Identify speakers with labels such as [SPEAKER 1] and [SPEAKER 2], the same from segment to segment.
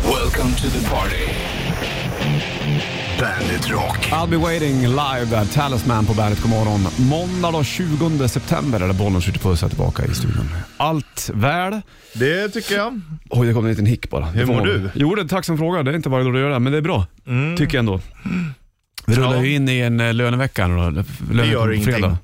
[SPEAKER 1] Welcome to the party. Bandit Rock.
[SPEAKER 2] I'll be waiting live där, Talisman på bandet. God morgon. Måndag då, 20 september är det Bollnäs skjuter puss här tillbaka i studion. Allt väl?
[SPEAKER 3] Det tycker jag.
[SPEAKER 2] Oj, det kom en liten hick bara. Det
[SPEAKER 3] Hur
[SPEAKER 2] får
[SPEAKER 3] mår
[SPEAKER 2] man-
[SPEAKER 3] du? Mm.
[SPEAKER 2] Jo, det, tack som frågar. Det är inte varje dag du gör det, men det är bra. Tycker jag ändå. Vi rullar ju in i en eh, lönevecka nu då. Lönen
[SPEAKER 3] Det
[SPEAKER 2] kommer
[SPEAKER 3] gör
[SPEAKER 2] på
[SPEAKER 3] ingenting.
[SPEAKER 2] fredag.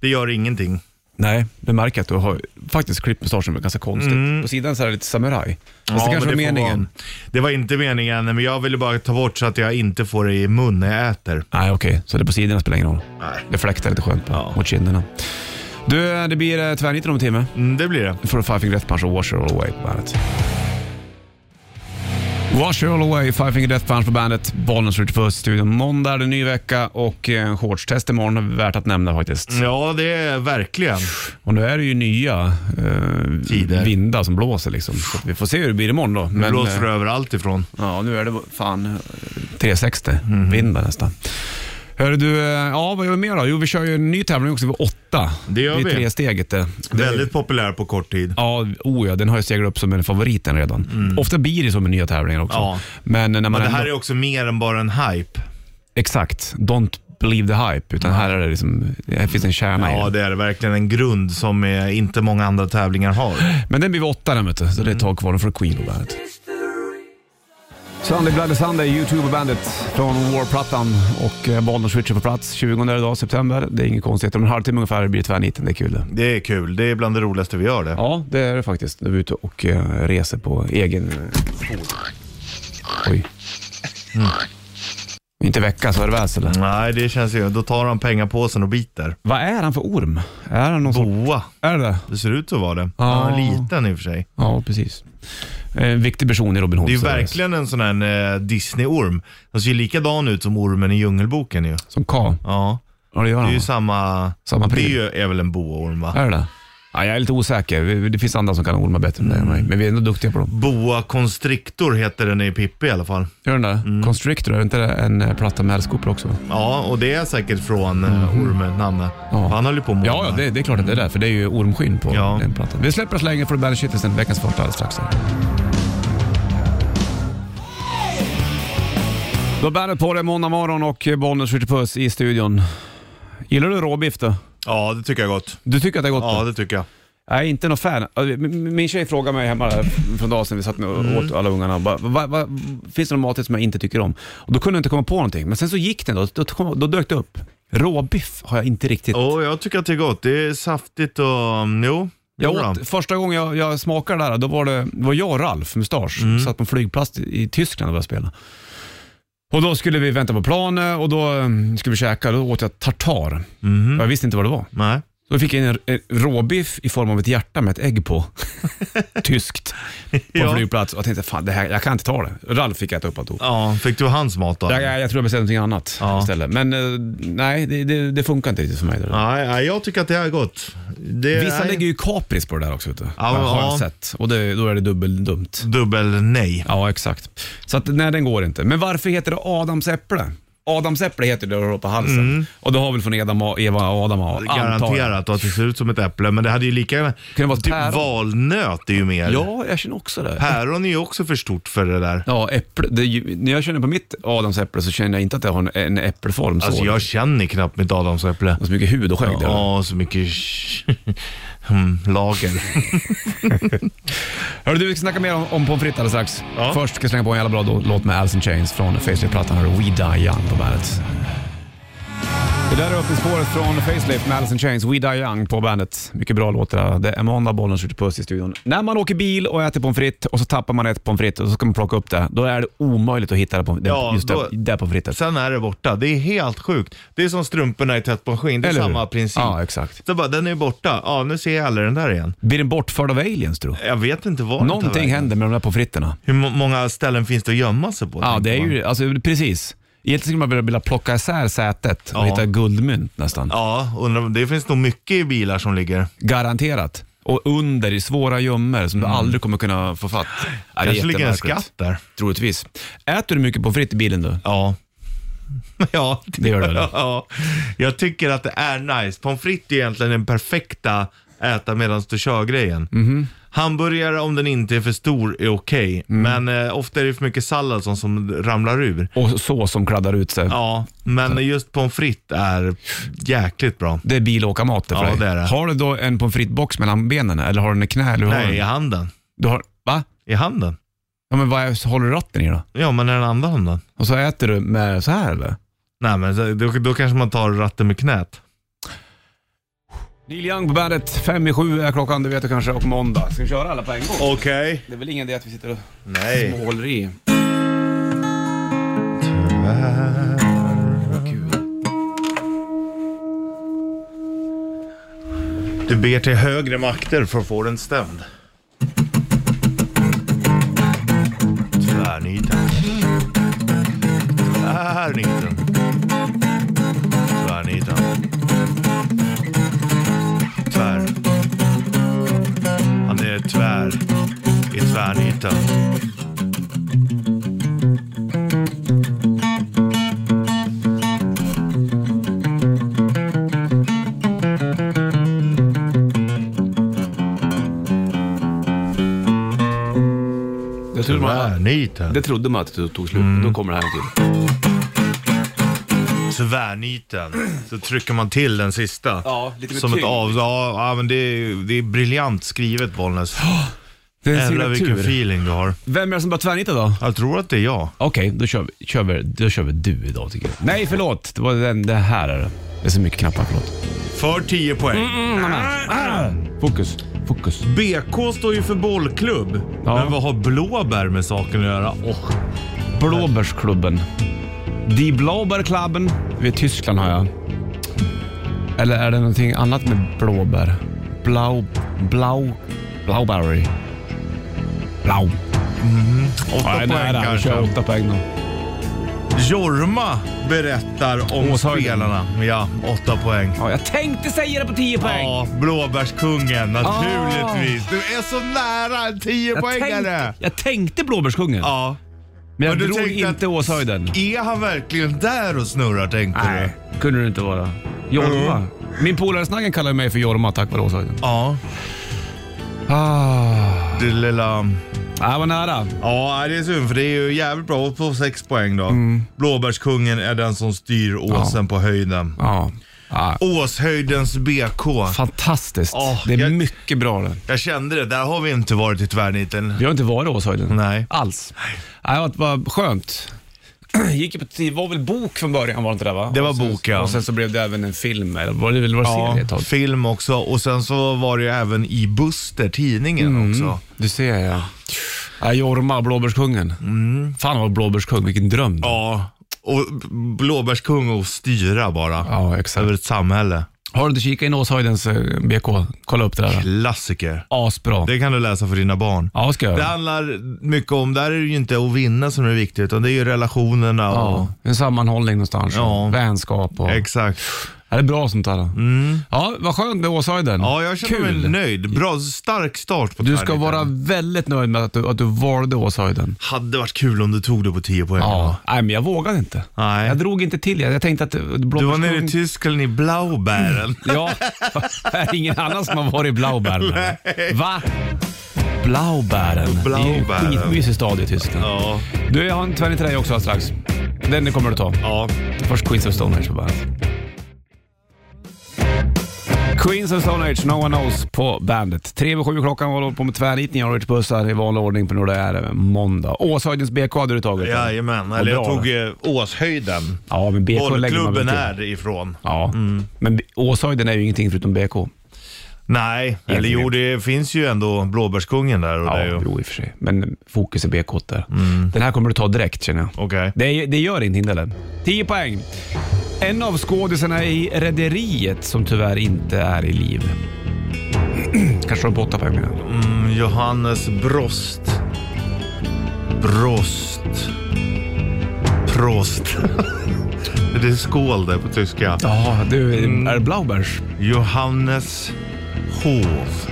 [SPEAKER 3] Det gör ingenting.
[SPEAKER 2] Nej, det märker jag att du har faktiskt klippt mustaschen, men ganska konstigt. På sidan så är det lite samuraj. Fast det
[SPEAKER 3] Mm. men
[SPEAKER 2] kanske var
[SPEAKER 3] det får
[SPEAKER 2] meningen.
[SPEAKER 3] vara. Det var inte meningen, men jag ville bara ta bort så att jag inte får det i mun när jag äter.
[SPEAKER 2] Nej, okej. Så det på sidorna spelar ingen roll.
[SPEAKER 3] Nej.
[SPEAKER 2] Det fläktar lite skönt på,
[SPEAKER 3] Ja.
[SPEAKER 2] mot kinderna. Du, det blir eh, tvärniten om en timme.
[SPEAKER 3] Mm, det blir det.
[SPEAKER 2] Nu får du Five Finger Death Punch och Wash It All Away på bandet. Wash It All Away, Five Finger Death Punch på bandet. Bollnäs Ritchie Puss studion. Måndag, är det är ny vecka och eh, en shortstest imorgon. Värt att nämna faktiskt.
[SPEAKER 3] Ja, det är verkligen.
[SPEAKER 2] Och nu är det ju nya eh,
[SPEAKER 3] Tider.
[SPEAKER 2] vindar som blåser liksom. Så att vi får se hur det blir imorgon då.
[SPEAKER 3] Nu
[SPEAKER 2] Men,
[SPEAKER 3] blåser
[SPEAKER 2] eh,
[SPEAKER 3] det överallt ifrån.
[SPEAKER 2] Ja, nu är det fan eh, 360
[SPEAKER 3] Mhm.
[SPEAKER 2] vindar nästan. Hörru du, eh, ja vad gör vi mer då? Jo, vi kör ju en ny tävling också vid åtta.
[SPEAKER 3] Det gör
[SPEAKER 2] Det är
[SPEAKER 3] vi.
[SPEAKER 2] tre steget eh. det. det
[SPEAKER 3] Väldigt populär på kort tid.
[SPEAKER 2] Ja, oh ja, den har ju seglat upp som en favoriten redan. Ofta blir det så med nya tävlingar också.
[SPEAKER 3] Mm. Ja.
[SPEAKER 2] Men när man
[SPEAKER 3] Men det
[SPEAKER 2] ändå,
[SPEAKER 3] här är också mer än bara en hype.
[SPEAKER 2] Exakt, don't believe the hype. Utan här, är det liksom, här finns en kärna i
[SPEAKER 3] Ja,
[SPEAKER 2] det.
[SPEAKER 3] det är det verkligen. En grund som eh, inte många andra tävlingar har.
[SPEAKER 2] Men den blir vi åtta den vet du, så
[SPEAKER 3] Mm.
[SPEAKER 2] det är ett tag kvar. Den får Queen på bandet. Sunday Bloody Sunday, YouTube och bandet från War-plattan och eh, Bollnäs Switcher på plats 20 idag, september. Det är inget konstigt. Om en halvtimme ungefär blir det tvärniten, det är kul det.
[SPEAKER 3] Det är kul. Det är bland det roligaste vi gör det.
[SPEAKER 2] Ja, det är det faktiskt. När vi är ute och eh, reser på egen eh, Oj. Mm. Inte vecka så är det väl eller?
[SPEAKER 3] Nej, det känns ju... Då tar han pengapåsen och biter.
[SPEAKER 2] Vad är han för orm? Är han någon sorts...
[SPEAKER 3] Boa.
[SPEAKER 2] Är det
[SPEAKER 3] Det ser ut så var det.
[SPEAKER 2] Ja.
[SPEAKER 3] Han är liten i och för sig.
[SPEAKER 2] Ja, precis. Eh, En viktig person i Robin Hood.
[SPEAKER 3] Det är ju
[SPEAKER 2] så det.
[SPEAKER 3] verkligen en sån här eh, Disney-orm. Den ser ju likadan ut som ormen i Djungelboken ju.
[SPEAKER 2] Som K.
[SPEAKER 3] Ja,
[SPEAKER 2] Ja, det gör
[SPEAKER 3] det är
[SPEAKER 2] han.
[SPEAKER 3] ju
[SPEAKER 2] va?
[SPEAKER 3] samma...
[SPEAKER 2] Samma
[SPEAKER 3] det är,
[SPEAKER 2] pryl.
[SPEAKER 3] ju, är väl en boaorm va?
[SPEAKER 2] Är det det? ja, Jag är lite osäker. Vi- Det finns andra som kan ormar bättre än det än mig.
[SPEAKER 3] Mm.
[SPEAKER 2] Men vi är ändå duktiga på dem.
[SPEAKER 3] Boa constrictor heter den i Pippi i alla fall.
[SPEAKER 2] Gör den det?
[SPEAKER 3] Mm.
[SPEAKER 2] Constrictor, är inte det en eh, platta med älskopor också?
[SPEAKER 3] Ja, och det är säkert från eh, ormen, namnet.
[SPEAKER 2] Mhm. Ja.
[SPEAKER 3] Han höll ju på med
[SPEAKER 2] Ja, ja
[SPEAKER 3] ormar.
[SPEAKER 2] det, det är klart att det är där, för det är ju ormskinn på
[SPEAKER 3] Ja.
[SPEAKER 2] den plattan. Vi släpper oss länge för Bandit Shitlisten, veckans första alldeles strax. här. Då är bandet på det måndag morgon och Bollnäs skjuter puss i studion. Gillar du råbiff då?
[SPEAKER 3] ja, det tycker jag gott.
[SPEAKER 2] Du tycker att det är gott?
[SPEAKER 3] Ja,
[SPEAKER 2] då?
[SPEAKER 3] det tycker jag.
[SPEAKER 2] Jag är inte någon fan. Alltså, min- Min tjej frågade mig hemma där för en dag sedan, vi satt och
[SPEAKER 3] Mm.
[SPEAKER 2] åt alla ungarna. Bara, va, va, finns det någon maträtt som jag inte tycker om? Och då kunde jag inte komma på någonting. Men sen så gick den då, då, kom, då dök det upp. Råbiff har jag inte riktigt...
[SPEAKER 3] Och jag tycker att det är gott. Det är saftigt och... mm, Jo.
[SPEAKER 2] Jag
[SPEAKER 3] jodå.
[SPEAKER 2] åt, första gången jag, jag smakade det här, då var det, det var jag och Ralf Mustasch,
[SPEAKER 3] Mm.
[SPEAKER 2] satt på en flygplats i, i Tyskland och började spela. Och då skulle vi vänta på planet och då eh, skulle vi käka, då åt jag tartar.
[SPEAKER 3] Mhm.
[SPEAKER 2] Och Jag visste inte vad det var.
[SPEAKER 3] Nej.
[SPEAKER 2] Då fick jag in en, en råbiff i form av ett hjärta med ett ägg på. Tyskt. På en
[SPEAKER 3] Ja.
[SPEAKER 2] flygplats. Och jag tänkte, fan det här, jag kan inte ta det. Ralf fick äta upp alltihop.
[SPEAKER 3] Ja, fick du hans mat då?
[SPEAKER 2] Jag, jag, jag tror jag beställde någonting annat
[SPEAKER 3] Ja.
[SPEAKER 2] istället. Men eh, nej, det, det, det funkar inte riktigt för mig. Det där.
[SPEAKER 3] Nej, nej, jag tycker att det är gott. Det
[SPEAKER 2] Vissa
[SPEAKER 3] är
[SPEAKER 2] lägger ju kapris på det där också. Vet du.
[SPEAKER 3] Ja,
[SPEAKER 2] har jag
[SPEAKER 3] ja.
[SPEAKER 2] sett. Och det, då är det dubbeldumt.
[SPEAKER 3] dubbel nej.
[SPEAKER 2] Ja, exakt. Så att, nej, den går inte. Men varför heter det Adams äpple? Adams äpple heter det du har på halsen.
[SPEAKER 3] Mm.
[SPEAKER 2] Och det har väl från Edam, Eva och Adam antar jag.
[SPEAKER 3] Garanterat och att det ser ut som ett äpple, men det hade ju lika gärna...
[SPEAKER 2] Kan det vara ett
[SPEAKER 3] typ
[SPEAKER 2] päron?
[SPEAKER 3] valnöt är ju mer.
[SPEAKER 2] Ja, jag känner också det.
[SPEAKER 3] Päron är ju också för stort för det där.
[SPEAKER 2] Ja, äpple. Det, är ju- när jag känner på mitt adamsäpple så känner jag inte att jag har en, en äppelform. Så.
[SPEAKER 3] Alltså jag känner knappt mitt adamsäpple.
[SPEAKER 2] Det är så mycket hud och skägg där.
[SPEAKER 3] Ja, så mycket sh- mm, lager.
[SPEAKER 2] Hörru du, vi ska snacka mer om, om pommes frites alldeles strax.
[SPEAKER 3] Ja.
[SPEAKER 2] Först ska jag slänga på en jävla bra då- låt med Alice in Chains från Facelift-plattan. Hörru, We Die Young på bandet. Det där är öppningsspåret från Facelift med Alice in Chains, We Die Young på bandet. Mycket bra låt det där. Det är måndag, bollen skjuter puss i studion. När man åker bil och äter pommes frites och så tappar man ett pommes frites och så ska man plocka upp det, då är det omöjligt att hitta det på,
[SPEAKER 3] Ja,
[SPEAKER 2] just
[SPEAKER 3] då-
[SPEAKER 2] det, där pommes frites.
[SPEAKER 3] Sen är det borta. Det är helt sjukt. Det är som strumporna i tätt på skinn. Det är
[SPEAKER 2] Eller hur?
[SPEAKER 3] samma princip.
[SPEAKER 2] Ja, exakt.
[SPEAKER 3] Så bara, den är borta. Ja, nu ser jag aldrig den där igen.
[SPEAKER 2] Blir den bortförd av aliens tror du?
[SPEAKER 3] Jag vet inte vad
[SPEAKER 2] Någonting händer med de där pommes fritterna.
[SPEAKER 3] Hur må- många ställen finns det att gömma sig på?
[SPEAKER 2] Ja,
[SPEAKER 3] tänker
[SPEAKER 2] det är
[SPEAKER 3] man?
[SPEAKER 2] ju, alltså precis. Egentligen skulle man vilja- vilja plocka isär sätet och
[SPEAKER 3] Ja.
[SPEAKER 2] hitta guldmynt nästan.
[SPEAKER 3] Ja, undrar, om- det finns nog mycket i bilar som ligger.
[SPEAKER 2] Garanterat. Och under i svåra gömmor som du aldrig kommer kunna få fatt. Ja, det är
[SPEAKER 3] Mm. Kanske ligger en
[SPEAKER 2] jättemärkligt.
[SPEAKER 3] skatt där.
[SPEAKER 2] Troligtvis. Äter du mycket pommes frites i bilen då?
[SPEAKER 3] Ja. ja,
[SPEAKER 2] Det gör du eller?
[SPEAKER 3] ja. Jag tycker att det är nice. Pommes frites är egentligen den perfekta äta medan du kör grejen. Hamburgare om den inte är för stor är okej, men eh, ofta är det för mycket sallad som, som ramlar ur.
[SPEAKER 2] Och så som kladdar ut sig.
[SPEAKER 3] Ja, men just pommes frites är jäkligt bra.
[SPEAKER 2] Det är bilåkarmat det för
[SPEAKER 3] Ja,
[SPEAKER 2] dig.
[SPEAKER 3] det är det.
[SPEAKER 2] Har du då en pommes frites-box mellan benen eller har du den i knä? Eller hur har
[SPEAKER 3] Nej,
[SPEAKER 2] du
[SPEAKER 3] i
[SPEAKER 2] den?
[SPEAKER 3] handen.
[SPEAKER 2] Du har, va?
[SPEAKER 3] I handen?
[SPEAKER 2] Ja, men vad är, håller du ratten i då?
[SPEAKER 3] Ja, men i den andra handen.
[SPEAKER 2] Och så äter du med så här eller?
[SPEAKER 3] Nej, men så- då, då kanske man tar ratten med knät.
[SPEAKER 2] Neil Young på bandet, fem i sju är klockan, det vet du kanske, och måndag. Ska vi köra alla på en gång?
[SPEAKER 3] Okej.
[SPEAKER 2] Det är väl ingen idé att vi sitter och
[SPEAKER 3] Nej.
[SPEAKER 2] småhåller i. Gud.
[SPEAKER 3] Du ber till högre makter för att få den stämd. Tvärniten. Tvärniten. Tvärniten. Tvär. Han är tvär i tvärniten.
[SPEAKER 2] Det trodde man,
[SPEAKER 3] Tvärniten.
[SPEAKER 2] det trodde man att det tog slut, då kommer det här till.
[SPEAKER 3] tvärniten så trycker man till den sista.
[SPEAKER 2] Ja, lite med
[SPEAKER 3] Som ett
[SPEAKER 2] tyngd.
[SPEAKER 3] av... Ja, ja, men det är, det är briljant skrivet Bollnäs.
[SPEAKER 2] Det är en
[SPEAKER 3] Jävlar vilken
[SPEAKER 2] signatur.
[SPEAKER 3] feeling du har.
[SPEAKER 2] Vem är det som börjar tvärnita då?
[SPEAKER 3] Jag tror att det är jag.
[SPEAKER 2] Okej, då, kör vi, kör vi, då kör vi du idag tycker jag. Nej, förlåt. Det var den, det här är det. Det är så mycket knappar, förlåt.
[SPEAKER 3] För 10 poäng.
[SPEAKER 2] Fokus, fokus.
[SPEAKER 3] BK står ju för bollklubb.
[SPEAKER 2] Ja.
[SPEAKER 3] Men vad har blåbär med saken att göra? Och
[SPEAKER 2] Blåbärsklubben. Die Blaubeerklubben. Vid Tyskland har jag. Eller är det någonting annat med blåbär? Blau... Blau... Blauberry. Blau.
[SPEAKER 3] 8 poäng
[SPEAKER 2] Nej, nära.
[SPEAKER 3] kanske.
[SPEAKER 2] Kör åtta poäng då.
[SPEAKER 3] Jorma berättar om
[SPEAKER 2] Åshöjden.
[SPEAKER 3] spelarna. Ja, 8 poäng.
[SPEAKER 2] Ja, jag tänkte säga det på tio poäng. Ah.
[SPEAKER 3] Ja, blåbärskungen naturligtvis. Du är så nära en
[SPEAKER 2] jag,
[SPEAKER 3] 10-poängare.
[SPEAKER 2] tänkte, jag tänkte blåbärskungen,
[SPEAKER 3] Ja.
[SPEAKER 2] men jag
[SPEAKER 3] men du
[SPEAKER 2] drog
[SPEAKER 3] tänkte
[SPEAKER 2] inte
[SPEAKER 3] att-
[SPEAKER 2] Åshöjden.
[SPEAKER 3] Är han verkligen där och snurrar tänkte du?
[SPEAKER 2] Nej, kunde det inte vara. Jorma. Min polare Snaggen kallar mig för Jorma tack vare Åshöjden.
[SPEAKER 3] Ja,
[SPEAKER 2] Ah.
[SPEAKER 3] det lilla...
[SPEAKER 2] Jag var nära.
[SPEAKER 3] Ja, det är synd för det är ju jävligt bra. Och på sex poäng då.
[SPEAKER 2] Mm.
[SPEAKER 3] Blåbärskungen är den som styr åsen på höjden.
[SPEAKER 2] Ja. Ah.
[SPEAKER 3] Åshöjdens BK.
[SPEAKER 2] Fantastiskt.
[SPEAKER 3] Ah,
[SPEAKER 2] det är
[SPEAKER 3] jag-
[SPEAKER 2] mycket bra det.
[SPEAKER 3] Jag kände det, där har vi inte varit i tvärniten.
[SPEAKER 2] Vi har inte varit i Åshöjden.
[SPEAKER 3] Nej.
[SPEAKER 2] Alls. Nej, det var skönt. Gick ju på tid. var väl bok från början var det inte det va?
[SPEAKER 3] Det var
[SPEAKER 2] Och sen-
[SPEAKER 3] bok, ja.
[SPEAKER 2] Och sen så blev det även en film, eller var det, eller var det serie
[SPEAKER 3] Ja,
[SPEAKER 2] ett tag?
[SPEAKER 3] film också. Och sen så var det ju även i Buster, tidningen
[SPEAKER 2] Mm.
[SPEAKER 3] också.
[SPEAKER 2] Du ser ja. ja Jorma, blåbärskungen. Fan vad blåbärskung, vilken dröm.
[SPEAKER 3] Ja, och blåbärskung och styra bara.
[SPEAKER 2] Ja, exakt.
[SPEAKER 3] Över ett samhälle.
[SPEAKER 2] Har du inte kikat in Åshöjdens eh, BK? Kolla upp det där.
[SPEAKER 3] Klassiker.
[SPEAKER 2] Asbra.
[SPEAKER 3] Det kan du läsa för dina barn.
[SPEAKER 2] Ja, ska jag
[SPEAKER 3] Det
[SPEAKER 2] göra.
[SPEAKER 3] handlar mycket om, där är det ju inte att vinna som är viktigt, utan det är ju relationerna och...
[SPEAKER 2] Ja, en sammanhållning någonstans.
[SPEAKER 3] Ja.
[SPEAKER 2] och Vänskap och...
[SPEAKER 3] Exakt.
[SPEAKER 2] Ja, det är bra sånt där. Ja, vad skönt med Åshöjden.
[SPEAKER 3] Mm. Ja, jag känner
[SPEAKER 2] Kul.
[SPEAKER 3] mig nöjd. Bra, stark start på
[SPEAKER 2] Du ska
[SPEAKER 3] tvärniten.
[SPEAKER 2] vara väldigt nöjd med att du, att du valde Åshöjden.
[SPEAKER 3] Hade varit kul om du tog det på 10 poäng.
[SPEAKER 2] Ja. Nej, men jag vågade inte.
[SPEAKER 3] Nej.
[SPEAKER 2] Jag drog inte till. Jag, jag tänkte att...
[SPEAKER 3] Du var nere i Tyskland i Blaubären.
[SPEAKER 2] Ja, det är ingen annan som har varit i Blaubären. Va? Blaubären. Det är ju
[SPEAKER 3] Blaubären.
[SPEAKER 2] en skitmysig stad i Tyskland.
[SPEAKER 3] Ja.
[SPEAKER 2] Du, jag har en tvärnit till dig också alldeles strax. Den kommer du ta.
[SPEAKER 3] ja.
[SPEAKER 2] Först Queens of Stone Age på bandet. Queens of Stone Age, No One Knows på bandet. Tre över sju klockan håller på med tvärnitningar och bussar i vanlig ordning på några är måndag. Åshöjdens BK hade du tagit.
[SPEAKER 3] Jajamän.
[SPEAKER 2] Vad
[SPEAKER 3] Eller jag
[SPEAKER 2] bra
[SPEAKER 3] tog eh, Åshöjden.
[SPEAKER 2] Ja, men BK lägger man väl
[SPEAKER 3] Bollklubben
[SPEAKER 2] till.
[SPEAKER 3] är ifrån.
[SPEAKER 2] Ja,
[SPEAKER 3] Mm.
[SPEAKER 2] men B- Åshöjden är ju ingenting förutom BK.
[SPEAKER 3] Nej, eller
[SPEAKER 2] Egentligen.
[SPEAKER 3] jo det finns ju ändå Blåbärskungen där. Och
[SPEAKER 2] Ja,
[SPEAKER 3] det är ju... Mm.
[SPEAKER 2] jo i och för sig. Men fokus är BK där. Den här kommer du ta direkt känner jag.
[SPEAKER 3] Okej.
[SPEAKER 2] Det, det gör ingenting heller. 10 poäng. En av skådisarna i Rederiet som tyvärr inte är i liv. Kanske de på åtta poäng menar jag.
[SPEAKER 3] Mm, Johannes Brost. Brost. Prost. det är skål där på tyska.
[SPEAKER 2] Ja, du, Mm. är det Blaubärs?
[SPEAKER 3] Johannes Hov.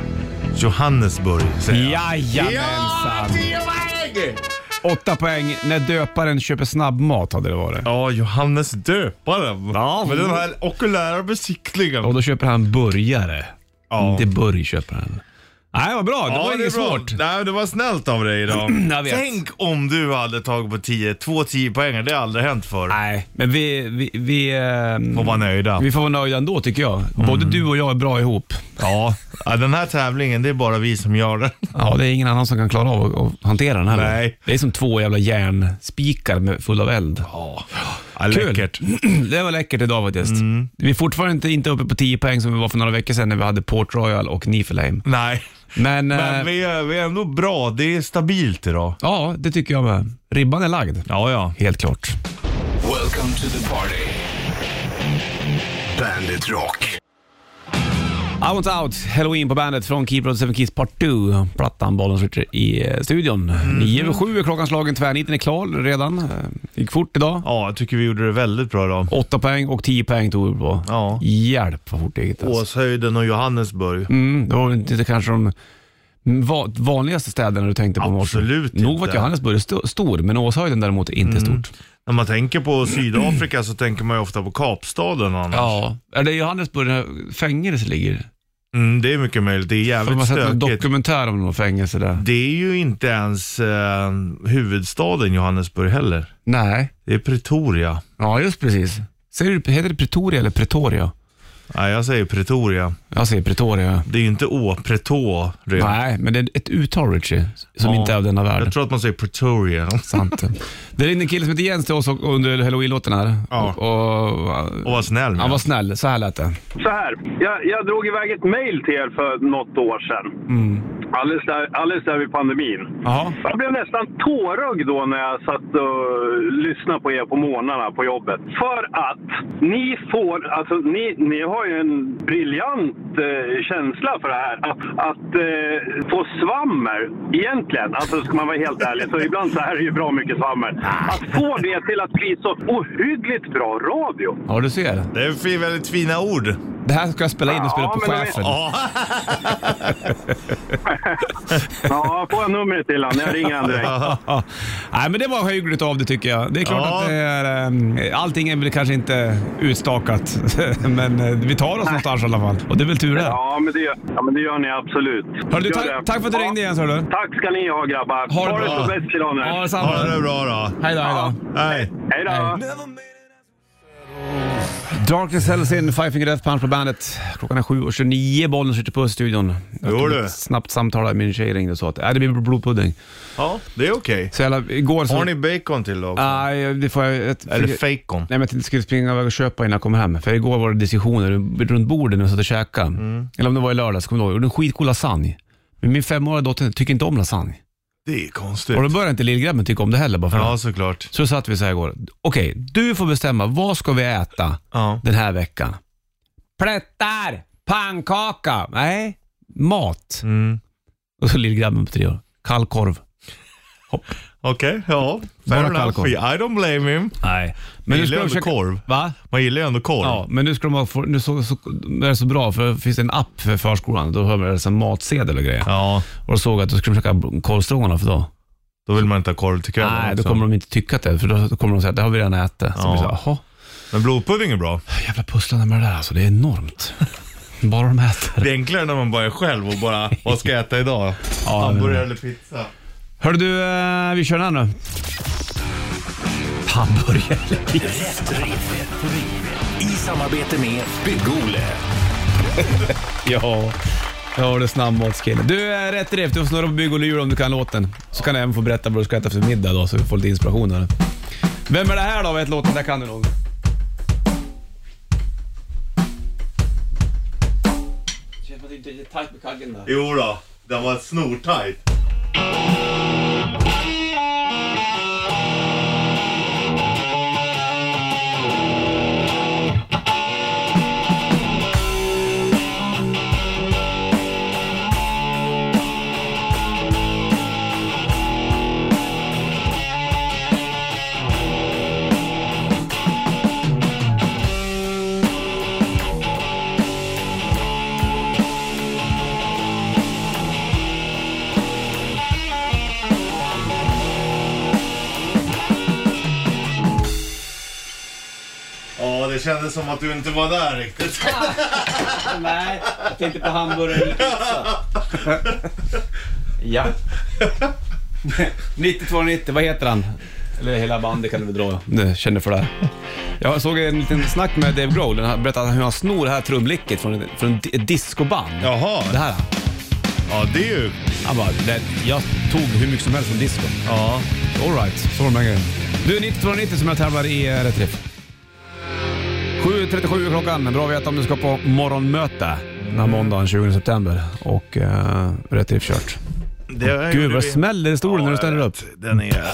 [SPEAKER 3] Johannesburg säger jag.
[SPEAKER 2] Jajamensan!
[SPEAKER 3] poäng!
[SPEAKER 2] Åtta poäng. När döparen köper snabbmat hade det varit.
[SPEAKER 3] Ja, Johannes döparen.
[SPEAKER 2] Ja.
[SPEAKER 3] Med den här okulära besiktningen.
[SPEAKER 2] Och då köper han burgare.
[SPEAKER 3] Ja.
[SPEAKER 2] Inte Burg köper den. Nej, vad bra. Det var
[SPEAKER 3] är
[SPEAKER 2] inget
[SPEAKER 3] bra.
[SPEAKER 2] svårt.
[SPEAKER 3] Nej, det var snällt av dig idag.
[SPEAKER 2] Jag vet.
[SPEAKER 3] Tänk om du hade tagit på 10, två 10 poäng Det har aldrig hänt förr.
[SPEAKER 2] Nej, men vi, vi, vi, ehm,
[SPEAKER 3] Får vara nöjda.
[SPEAKER 2] vi får vara nöjda ändå tycker jag. Både
[SPEAKER 3] Mm.
[SPEAKER 2] du och jag är bra ihop.
[SPEAKER 3] Ja. ja, den här tävlingen, det är bara vi som gör den.
[SPEAKER 2] Ja, det är ingen annan som kan klara av att- att hantera den här.
[SPEAKER 3] Nej.
[SPEAKER 2] Det är som två jävla järnspikar med- fulla av eld.
[SPEAKER 3] Ja,
[SPEAKER 2] Kul.
[SPEAKER 3] läckert. Mm.
[SPEAKER 2] Det var läckert idag faktiskt. Vi är fortfarande inte, inte uppe på 10 poäng som vi var för några veckor sedan när vi hade Port Royal och Nifelheim.
[SPEAKER 3] Nej,
[SPEAKER 2] Men, eh,
[SPEAKER 3] men vi är, vi är ändå bra. Det är stabilt idag.
[SPEAKER 2] ja, det tycker jag med. Ribban är lagd.
[SPEAKER 3] Ja, ja.
[SPEAKER 2] Helt klart.
[SPEAKER 1] Welcome to the party. Bandit Rock.
[SPEAKER 2] I want out, Halloween på bandet från Keep Road 7 Keys Part 2. Plattan Bollens Ritcher i eh, studion.
[SPEAKER 3] Mhm.
[SPEAKER 2] Nio över sju är klockan slagen, tvärniten är klar redan. Eh, gick fort idag.
[SPEAKER 3] Ja, jag tycker vi gjorde det väldigt bra idag.
[SPEAKER 2] Åtta poäng och 10 poäng tog vi på.
[SPEAKER 3] Ja.
[SPEAKER 2] Hjälp vad fort det gick. Alltså.
[SPEAKER 3] Åshöjden och Johannesburg.
[SPEAKER 2] Mm, det var väl inte kanske de mm, va- vanligaste städerna du tänkte på i morse.
[SPEAKER 3] Absolut
[SPEAKER 2] Nog
[SPEAKER 3] inte. Mm.
[SPEAKER 2] var att Johannesburg är sto- stor, men Åshöjden däremot är inte stort.
[SPEAKER 3] När man tänker på Sydafrika så tänker man ju ofta på Kapstaden och annat.
[SPEAKER 2] Ja. Är det i Johannesburg det här fängelse ligger?
[SPEAKER 3] Mm, det är mycket möjligt. Det är
[SPEAKER 2] För man
[SPEAKER 3] jävligt
[SPEAKER 2] har sett en
[SPEAKER 3] stökigt.
[SPEAKER 2] dokumentär om något fängelse där.
[SPEAKER 3] Det är ju inte ens eh, huvudstaden Johannesburg heller.
[SPEAKER 2] Nej.
[SPEAKER 3] Det är Pretoria.
[SPEAKER 2] Ja, just precis. Säger du, heter det Pretoria eller Pretoria?
[SPEAKER 3] Nej, jag säger Pretoria.
[SPEAKER 2] Jag säger Pretoria.
[SPEAKER 3] Det är ju inte Å, Pretoria.
[SPEAKER 2] Nej, men det är ett uttal Richie, som
[SPEAKER 3] Ja.
[SPEAKER 2] inte är av denna värld.
[SPEAKER 3] Jag tror att man säger Pretoria.
[SPEAKER 2] Sant. Det ringde en kille som heter Jens till oss och- under halloween-låten här.
[SPEAKER 3] Ja.
[SPEAKER 2] Och,
[SPEAKER 3] Och var snäll med
[SPEAKER 2] han var
[SPEAKER 3] den.
[SPEAKER 2] snäll, så här lät det.
[SPEAKER 4] Så här, jag, jag drog iväg ett mejl till er för något år sedan. Alldeles, där, alldeles där vid pandemin.
[SPEAKER 2] Jaha.
[SPEAKER 4] Jag blev nästan tårögd då när jag satt och lyssnade på er på morgnarna på jobbet. För att ni får, alltså ni, ni har ju en briljant eh, känsla för det här. Att, att eh, få svammer, egentligen, alltså ska man vara helt ärlig, så ibland så här är det ju bra mycket svammer. Att få det till att bli så ohyggligt bra radio.
[SPEAKER 2] Ja, du ser.
[SPEAKER 3] Det är fi- väldigt fina ord.
[SPEAKER 2] Det här ska jag spela in och spela
[SPEAKER 4] Ja,
[SPEAKER 2] på
[SPEAKER 4] men det-
[SPEAKER 2] chefen.
[SPEAKER 3] Ja,
[SPEAKER 4] Ja, får jag numret till honom? Jag ringer honom direkt.
[SPEAKER 2] Ja. Nej, men det var hyggligt av det tycker jag. Det är klart
[SPEAKER 3] Ja.
[SPEAKER 2] att det är, ehm, allting är väl kanske inte utstakat, men eh, vi tar oss någonstans i alla fall. Och det är väl tur det.
[SPEAKER 4] Ja, men det, gör- ja, men det gör ni absolut.
[SPEAKER 2] Hörru du,
[SPEAKER 4] Gör
[SPEAKER 2] tack-
[SPEAKER 4] det.
[SPEAKER 2] tack för att du ringde igen, hörru.
[SPEAKER 4] Tack ska ni ha grabbar.
[SPEAKER 2] Ha det bra.
[SPEAKER 4] så bäst idag nu.
[SPEAKER 2] Ja, detsamma.
[SPEAKER 3] ha det bra då.
[SPEAKER 2] Hej då, hej då.
[SPEAKER 3] Hej.
[SPEAKER 4] Hej då.
[SPEAKER 2] Hej. Darkness Hells in, Five Finger Death Punch på bandet. Klockan är 7.29, bollen sitter på studion. Jag
[SPEAKER 3] Jo,
[SPEAKER 2] tog
[SPEAKER 3] du.
[SPEAKER 2] ett Snabbt samtal där, min tjej ringde och sa att äh, det blir blodpudding.
[SPEAKER 3] Ja, det är okej.
[SPEAKER 2] Så jävla, igår så...
[SPEAKER 3] Har ni bacon till då? också?
[SPEAKER 2] Nej, det får jag... Ett,
[SPEAKER 3] Eller fejkon?
[SPEAKER 2] Nej, men jag tänkte skulle springa iväg och köpa innan jag kommer hem. För igår var det diskussioner runt bordet när vi satt och käkade.
[SPEAKER 3] Mm.
[SPEAKER 2] Eller om det var i lördags, kommer jag ihåg. Jag gjorde en skitcool lasagne. Men min femåriga dotter tycker inte om lasagne.
[SPEAKER 3] Det är konstigt.
[SPEAKER 2] Och då började inte lillgrabben tycka om det heller bara för
[SPEAKER 3] Ja,
[SPEAKER 2] att.
[SPEAKER 3] såklart.
[SPEAKER 2] Så satt vi så här igår. Okej, du får bestämma. Vad ska vi äta
[SPEAKER 3] Ja.
[SPEAKER 2] den här veckan? Plättar! Pannkaka! Nej, mat.
[SPEAKER 3] Mm.
[SPEAKER 2] Och så lillgrabben på tre år. Kallkorv.
[SPEAKER 3] Okej, ja.
[SPEAKER 2] Bara
[SPEAKER 3] Fair enough.
[SPEAKER 2] kalkon.
[SPEAKER 3] I don't blame him.
[SPEAKER 2] Nej.
[SPEAKER 3] Men
[SPEAKER 2] nu
[SPEAKER 3] gillar
[SPEAKER 2] ska de
[SPEAKER 3] ändå
[SPEAKER 2] försöka-
[SPEAKER 3] korv.
[SPEAKER 2] Va?
[SPEAKER 3] Man gillar ju ändå korv.
[SPEAKER 2] Ja, men nu ska de ha, för- nu så, så, det är så bra för det finns en app för förskolan. Då har man en matsedel och grejer.
[SPEAKER 3] Ja,
[SPEAKER 2] Och då såg jag att du skulle försöka korvstroganoff då.
[SPEAKER 3] då vill man inte ha korv till kvällen
[SPEAKER 2] Nej, då
[SPEAKER 3] också.
[SPEAKER 2] kommer de inte tycka att det, för då, då kommer de säga att det har vi redan ätit. Så
[SPEAKER 3] Ja.
[SPEAKER 2] blir det så här, jaha.
[SPEAKER 3] Men blodpudding är bra.
[SPEAKER 2] Jävla pusslande med det där alltså, det är enormt. Bara de äter.
[SPEAKER 3] Det är enklare när man bara är själv och bara, vad ska jag äta idag?
[SPEAKER 2] Ja,
[SPEAKER 3] Hamburgare eller pizza?
[SPEAKER 2] Hörru du, eh, vi kör den här nu. Hamburgare eller pizza?
[SPEAKER 1] Rätt riff. I samarbete med Bygg-Ole.
[SPEAKER 2] Ja. Ja du snabbmatskille. Du, eh, rätt drift. Du får snurra på bygg och lur om du kan låten. Så kan du även få berätta vad du ska äta för middag då, så vi får lite inspiration här. Vem är det här då? Vet låten? Där kan du nog. Känns som att det är tajt med kaggen där.
[SPEAKER 3] Jo då, den var snortajt. det kändes som att du inte var där riktigt.
[SPEAKER 5] Nej, jag tänkte på hamburgare eller pizza. ja. 9290, vad heter han? Eller hela bandet kan du väl dra.
[SPEAKER 2] Nu känner för det. här. Jag såg en liten snack med Dave Grohl. Han berättade hur han snor det här trumlicket från, från ett discoband.
[SPEAKER 3] Jaha.
[SPEAKER 2] Det här.
[SPEAKER 3] Ja, det är ju...
[SPEAKER 2] Han bara, det, jag tog hur mycket som helst från disco.
[SPEAKER 3] Ja.
[SPEAKER 2] Alright, så var de där grejerna. Du, 9290 som jag tävlar i eh, rätt riff. 7.37 är klockan. Bra att veta om du ska på morgonmöte den här måndagen 20 september. Och eh, rätt riff kört.
[SPEAKER 3] Det
[SPEAKER 2] Gud vad smäller i stolen när du ställer upp.
[SPEAKER 3] Den är...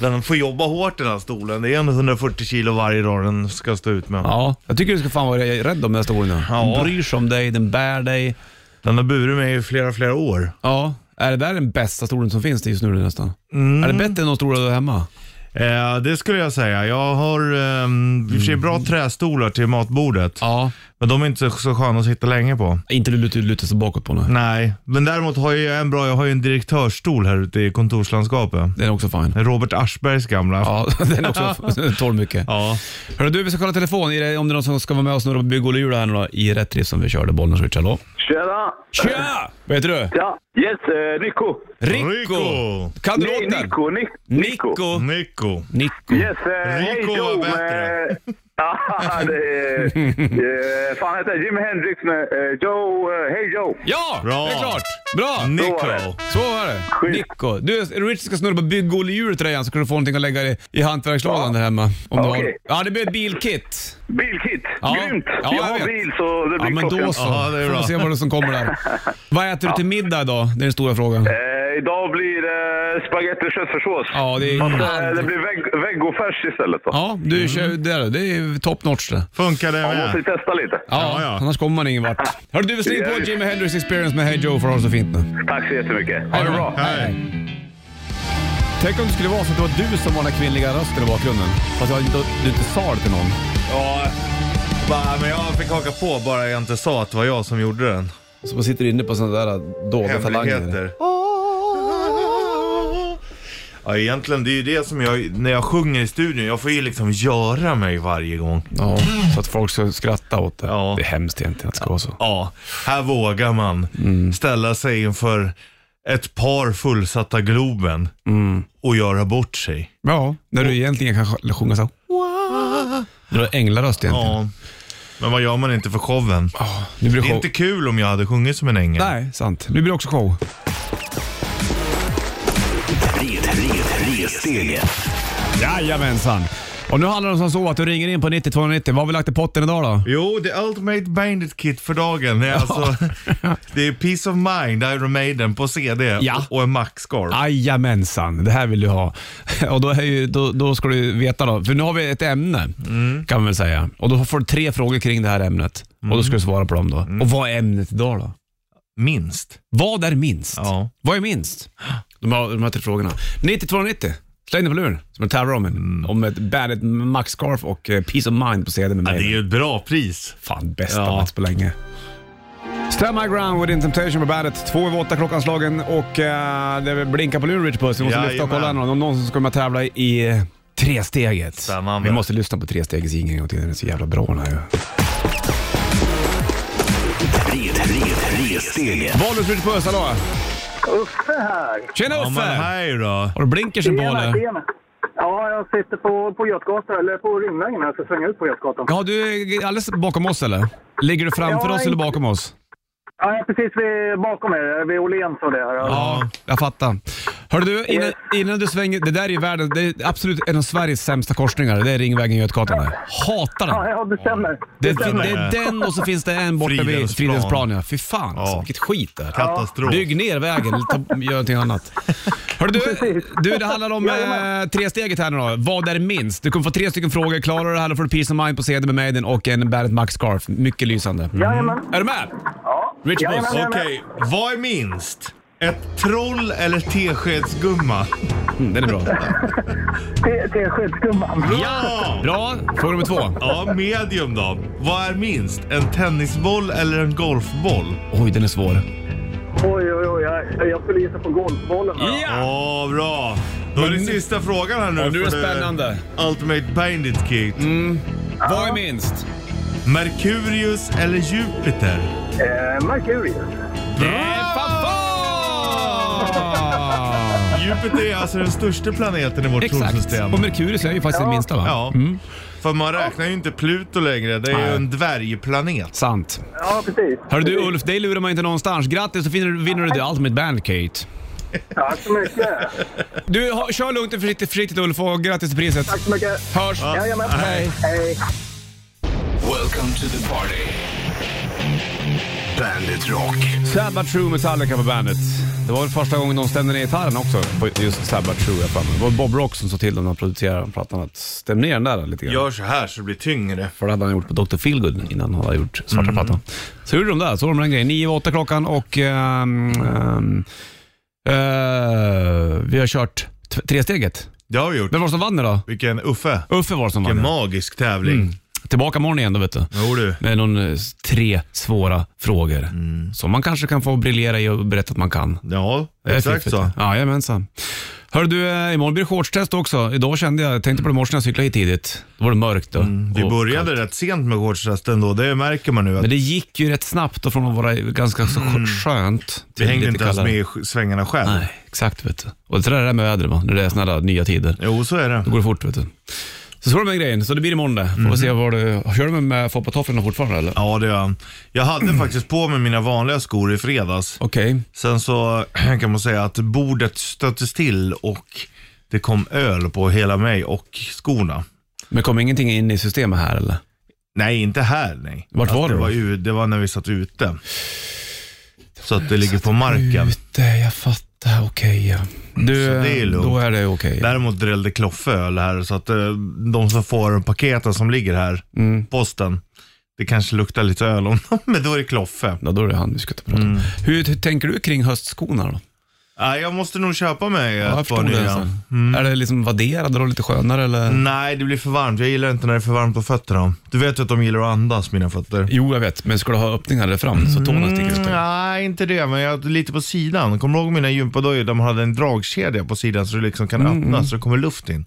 [SPEAKER 3] Den får jobba hårt den här stolen. Det är en 140 kilo varje dag den ska stå ut med.
[SPEAKER 2] Ja, jag tycker du ska fan vara rädd om den här stolen nu.
[SPEAKER 3] Ja.
[SPEAKER 2] Den bryr sig om dig, den bär dig.
[SPEAKER 3] Den har burit mig i flera, flera år.
[SPEAKER 2] Ja, är det där den bästa stolen som finns just nu nästan? Är det bättre än de stora du har hemma?
[SPEAKER 3] Eh, det skulle jag säga. Jag har ehm, i och för sig bra trästolar till matbordet.
[SPEAKER 2] Mm. Ja.
[SPEAKER 3] Men de är inte så, så sköna att sitta länge på.
[SPEAKER 2] Inte du lutar, lutar så bakåt på nu.
[SPEAKER 3] Nej, men däremot har jag en bra, jag har ju en direktörsstol här ute i kontorslandskapet.
[SPEAKER 2] Den är också fin.
[SPEAKER 3] Robert Aschbergs gamla.
[SPEAKER 2] Ja, den är också tål mycket.
[SPEAKER 3] Ja.
[SPEAKER 2] Hörru du, vi ska kolla telefon i det- om det är någon som ska vara med oss några på bygg och hjul här nu då, i rätt drift som vi körde bollen och switch. Hallå?
[SPEAKER 4] Tjena!
[SPEAKER 2] Tja! Vad heter du?
[SPEAKER 4] Ja, yes, eh, Nico.
[SPEAKER 2] Rico!
[SPEAKER 3] Rico.
[SPEAKER 2] Kan du
[SPEAKER 4] Nej,
[SPEAKER 2] låten?
[SPEAKER 4] Nico, Nico.
[SPEAKER 2] Nico!
[SPEAKER 3] Nico.
[SPEAKER 2] Nico.
[SPEAKER 4] Yes, eh, hej
[SPEAKER 3] Rico var
[SPEAKER 4] Joe
[SPEAKER 3] bättre.
[SPEAKER 4] med... Ja, det är... eh, fan heter Jimi Hendrix med eh, Joe... eh, Hej Joe!
[SPEAKER 2] Ja!
[SPEAKER 3] Bra.
[SPEAKER 2] Det är klart! Bra!
[SPEAKER 3] Nico.
[SPEAKER 2] Så var det.
[SPEAKER 4] Skit.
[SPEAKER 2] Nico. Du, Richard ska snurra på bygg och hjul till dig igen så kan du få någonting att lägga i, i hantverkslådan där hemma. Om du har.
[SPEAKER 4] Okej.
[SPEAKER 2] Ja, det blir ett bilkit.
[SPEAKER 4] Bilkit!
[SPEAKER 2] Ja.
[SPEAKER 4] Grymt!
[SPEAKER 2] Ja, jag
[SPEAKER 4] jag har
[SPEAKER 2] vet.
[SPEAKER 4] bil så det blir
[SPEAKER 2] Ja, men då
[SPEAKER 4] klockan.
[SPEAKER 2] så.
[SPEAKER 3] Ja, det är
[SPEAKER 2] Får
[SPEAKER 3] bra.
[SPEAKER 2] vi se vad det är som kommer där. Vad äter du till middag idag? Det är den stora frågan.
[SPEAKER 4] Eh, idag blir det eh, spagetti och köttfärssås.
[SPEAKER 2] Ja, det är...
[SPEAKER 4] Fast, eh, det blir veg- vegofärs istället då.
[SPEAKER 2] Ja, du kör det där. Det är top notch det.
[SPEAKER 3] Funkar det
[SPEAKER 4] Man måste ju
[SPEAKER 3] med?
[SPEAKER 4] testa lite.
[SPEAKER 2] Ja,
[SPEAKER 3] Ja, ja.
[SPEAKER 2] annars kommer man ingen vart. Hörru du, vi slänger på
[SPEAKER 4] Ja,
[SPEAKER 2] Jimi Hendrix Experience med Hey Joe för att ha det så fint nu.
[SPEAKER 4] Tack så jättemycket. Ha det bra.
[SPEAKER 3] Hej.
[SPEAKER 2] Tänk om det skulle vara så att det var du som var den kvinnliga rösten i bakgrunden. Fast jag, inte- du inte sa det till någon.
[SPEAKER 3] Ja, bara, men jag fick haka på bara jag inte sa att det var jag som gjorde den.
[SPEAKER 2] Så man sitter inne på sådana där dolda talanger.
[SPEAKER 3] Hemligheter. Ja, egentligen, det är ju det som jag, när jag sjunger i studion, jag får ju liksom göra mig varje gång.
[SPEAKER 2] Ja, så att folk ska skratta åt det.
[SPEAKER 3] Ja.
[SPEAKER 2] Det är hemskt egentligen att det ska vara så.
[SPEAKER 3] Ja, här vågar man ställa sig inför ett par fullsatta Globen och göra bort sig.
[SPEAKER 2] Ja, när du egentligen kan sjunga så. Du har änglaröst egentligen. Ah,
[SPEAKER 3] Ja, men vad gör man inte för showen?
[SPEAKER 2] Nu blir
[SPEAKER 3] Det är inte kul om jag hade sjungit som en ängel.
[SPEAKER 2] Nej, sant. Nu blir det också show.
[SPEAKER 1] Red, red, resstegen.
[SPEAKER 2] Jajamensan. Och nu handlar det om som så att du ringer in på 9290. Vad har vi lagt i potten idag då?
[SPEAKER 3] Jo, The Ultimate Bandit Kit för dagen. Det är, alltså, det är Peace of Mind, Iron Maiden på CD
[SPEAKER 2] Ja.
[SPEAKER 3] och en Max-scarf.
[SPEAKER 2] Jajamensan, det här vill du ha. Och då, är ju, då, då ska du veta då, för nu har vi ett ämne kan man väl säga. Och då får du tre frågor kring det här ämnet och då ska du svara på dem då. Och vad är ämnet idag då?
[SPEAKER 3] Minst.
[SPEAKER 2] Vad är minst?
[SPEAKER 3] Ja.
[SPEAKER 2] Vad är minst? De här, de här tre frågorna. 9290, släng den på luren som jag tävlar om. En, Om ett Bandet Max Scarf och eh, Peace of Mind på CD med
[SPEAKER 3] Ja,
[SPEAKER 2] mig.
[SPEAKER 3] det är ju ett bra pris.
[SPEAKER 2] Fan, bästa
[SPEAKER 3] Ja.
[SPEAKER 2] match på länge. Stand my ground with Temptation på bandet. Två över åtta klockanslagen och eh, det blinkar på luren Rich Puss. Vi måste lyfta och
[SPEAKER 3] Jajamän.
[SPEAKER 2] kolla någon. Om någon som ska med tävla i eh, tresteget.
[SPEAKER 3] Spännande.
[SPEAKER 2] Vi måste lyssna på trestegets ingen en gång till. Den är så jävla bra den här ju.
[SPEAKER 1] Red, red, resstegen.
[SPEAKER 2] Bollnäs Rich Puss, hallå!
[SPEAKER 6] Uffe här.
[SPEAKER 2] Tjena
[SPEAKER 3] Ja, men
[SPEAKER 2] Uffe!
[SPEAKER 3] hej då.
[SPEAKER 2] Har du blinkersen på eller?
[SPEAKER 6] tjena. Ja, jag sitter på, på Götgatan, eller på Ringvägen här, så svänger ut på Götgatan.
[SPEAKER 2] Ja, du är alldeles bakom oss eller? Ligger du framför
[SPEAKER 6] Ja,
[SPEAKER 2] oss eller
[SPEAKER 6] inte-
[SPEAKER 2] bakom oss?
[SPEAKER 6] Ja, jag är precis vid, bakom er, vid Åhléns och det här.
[SPEAKER 2] Ja, jag fattar. Hörru du, innan, innan du svänger. Det där är ju världen, det är absolut en av Sveriges sämsta korsningar. Det är Ringvägen Götgatan där. Hatar den.
[SPEAKER 6] Ja, ja, det stämmer.
[SPEAKER 2] Det, det,
[SPEAKER 3] stämmer.
[SPEAKER 2] är den och så finns det en borta vid
[SPEAKER 3] Fridhemsplan.
[SPEAKER 2] Fridhemsplan. Ja. Fy fan alltså,
[SPEAKER 3] Ja.
[SPEAKER 2] vilket skit det är.
[SPEAKER 3] Katastrof.
[SPEAKER 2] Bygg ner vägen, eller ta, gör någonting annat. Hörru du,
[SPEAKER 6] Precis.
[SPEAKER 2] du, det handlar om eh,
[SPEAKER 6] Jajamän.
[SPEAKER 2] tre steget här nu då. Vad är minst? Du kommer få tre stycken frågor. Klarar du det här då får du Peace of Mind på CD med Maiden och en Bandet Max Scarf. Mycket lysande.
[SPEAKER 6] Jajamän.
[SPEAKER 2] Är du med?
[SPEAKER 6] Ja.
[SPEAKER 2] Mm. Rich
[SPEAKER 6] Jajamän,
[SPEAKER 2] Boss.
[SPEAKER 6] jajamän.
[SPEAKER 3] Okej, vad är minst? Ett troll eller teskedsgumma?
[SPEAKER 2] Mm, den är bra.
[SPEAKER 6] Te- Teskedsgumman.
[SPEAKER 3] Ja!
[SPEAKER 2] Bra, fråga nummer två.
[SPEAKER 3] Ja, medium då. Vad är minst? En tennisboll eller en golfboll?
[SPEAKER 2] Oj, den är svår.
[SPEAKER 6] Oj, oj, oj. Jag, jag skulle gissa på golfbollen. här.
[SPEAKER 3] Åh, bra. Då är det sista frågan här nu.
[SPEAKER 2] Ja, nu är det
[SPEAKER 3] för det
[SPEAKER 2] spännande.
[SPEAKER 3] Ultimate Bandit Kit.
[SPEAKER 2] Vad är minst?
[SPEAKER 3] Merkurius eller Jupiter?
[SPEAKER 6] Eh, Mercurius.
[SPEAKER 2] Det är Fafan!
[SPEAKER 3] Jupiter är alltså den största planeten i vårt
[SPEAKER 2] Exakt.
[SPEAKER 3] solsystem.
[SPEAKER 2] Och Merkurius är ju faktiskt den minsta va?
[SPEAKER 3] Ja, för man räknar ju inte Pluto längre. Det är ju
[SPEAKER 2] Nej.
[SPEAKER 3] en dvärgplanet.
[SPEAKER 2] Sant.
[SPEAKER 6] Ja, precis.
[SPEAKER 2] Hörru du Ulf, dig lurar man inte någonstans. Grattis, så vinner du, vinner du The Ultimate Band, Kate.
[SPEAKER 6] Tack så mycket.
[SPEAKER 2] Du, ha, kör lugnt och försiktigt, försiktigt Ulf och grattis till priset.
[SPEAKER 6] Tack så mycket.
[SPEAKER 2] Hörs!
[SPEAKER 6] Jajamän.
[SPEAKER 2] Hej.
[SPEAKER 6] Hej.
[SPEAKER 1] Welcome to the party. Bandit Rock.
[SPEAKER 2] Sabbath True Metallica på bandet. Det var väl första gången de stämde ner gitarren också, på just Sabbath True. Jag har för mig. Det var Bob Rock som såg till dem när han producerade plattan att stäm ner den där lite grann.
[SPEAKER 3] Gör så här så det blir tyngre.
[SPEAKER 2] För det hade han gjort på Dr. Feelgood innan han hade gjort Svarta plattan. Så gjorde de där, så var de den grejen. 9 och 8 klockan och ehm, ehm, eh, vi har kört t- tresteget.
[SPEAKER 3] Det har vi gjort.
[SPEAKER 2] Vem var det som vann idag?
[SPEAKER 3] Vilken Uffe.
[SPEAKER 2] Uffe var det som
[SPEAKER 3] Vilken
[SPEAKER 2] vann.
[SPEAKER 3] magisk tävling.
[SPEAKER 2] Mm. Tillbaka imorgon igen då vet du.
[SPEAKER 3] Jo du. Mm.
[SPEAKER 2] Med någon, eh, tre svåra frågor. Som man kanske kan få briljera i och berätta att man kan.
[SPEAKER 3] Ja,
[SPEAKER 2] Det är
[SPEAKER 3] exakt
[SPEAKER 2] fiffigt.
[SPEAKER 3] så.
[SPEAKER 2] Jajamensan. Hör du, eh, imorgon blir det shortstest också. Idag kände jag, jag tänkte på det i morse när jag cyklade hit tidigt. Då var det mörkt. Då.
[SPEAKER 3] Mm, Vi
[SPEAKER 2] Och-
[SPEAKER 3] började rätt sent med shortstesten då, det märker man nu. Att
[SPEAKER 2] Men det gick ju rätt snabbt och från att vara ganska så skönt
[SPEAKER 3] Mm. vi
[SPEAKER 2] till
[SPEAKER 3] hängde
[SPEAKER 2] lite
[SPEAKER 3] inte ens
[SPEAKER 2] kallare.
[SPEAKER 3] med i sk- svängarna själv.
[SPEAKER 2] Nej, exakt vet du. Och det där är det där med vädret va, när det är sådana där nya tider.
[SPEAKER 3] Jo, så är det.
[SPEAKER 2] Då går det fort vet du. Så så var det med grejen, så det blir imorgon det. Får vi se vad du... Kör du med foppatofflorna fortfarande eller?
[SPEAKER 3] Mm. Ja, det gör jag. Jag hade faktiskt på mig mina vanliga skor i fredags.
[SPEAKER 2] Okej.
[SPEAKER 3] Sen så kan man säga att bordet stöttes till och det kom öl på hela mig och skorna.
[SPEAKER 2] Men kom ingenting in i systemet här eller?
[SPEAKER 3] Nej, inte här nej.
[SPEAKER 2] Vart var det
[SPEAKER 3] det
[SPEAKER 2] då?
[SPEAKER 3] var, ju, det var när vi satt ute. Så att det ligger på marken.
[SPEAKER 2] Ute, jag fattar. Okej ja. Du,
[SPEAKER 3] Så det är lugnt.
[SPEAKER 2] då är det okej.
[SPEAKER 3] Däremot drällde Kloffe öl här, så att eh, de som får paketen som ligger här,
[SPEAKER 2] Mm.
[SPEAKER 3] posten, det kanske luktar lite öl om dem, men då är det Kloffe.
[SPEAKER 2] Ja, då är det han vi ska ta prata om.
[SPEAKER 3] Mm.
[SPEAKER 2] Hur, hur tänker du kring höstskorna då?
[SPEAKER 3] Nej, jag måste nog köpa mig eh,
[SPEAKER 2] Ja,
[SPEAKER 3] ett
[SPEAKER 2] jag
[SPEAKER 3] par
[SPEAKER 2] förstod det.
[SPEAKER 3] nya. Mm.
[SPEAKER 2] Alltså. Är det liksom vadderade och lite skönare eller?
[SPEAKER 3] Nej, det blir för varmt. Jag gillar inte när det är för varmt på fötterna. Du vet ju att de gillar att andas, mina fötter.
[SPEAKER 2] Jo, jag vet. Men ska du ha öppningar där fram så tårna sticker ut? där?
[SPEAKER 3] Mm, Nej, inte det, men jag, lite på sidan. Kommer du ihåg mina gympadojor där man hade en dragkedja på sidan så det liksom kan öppnas så det kommer luft in?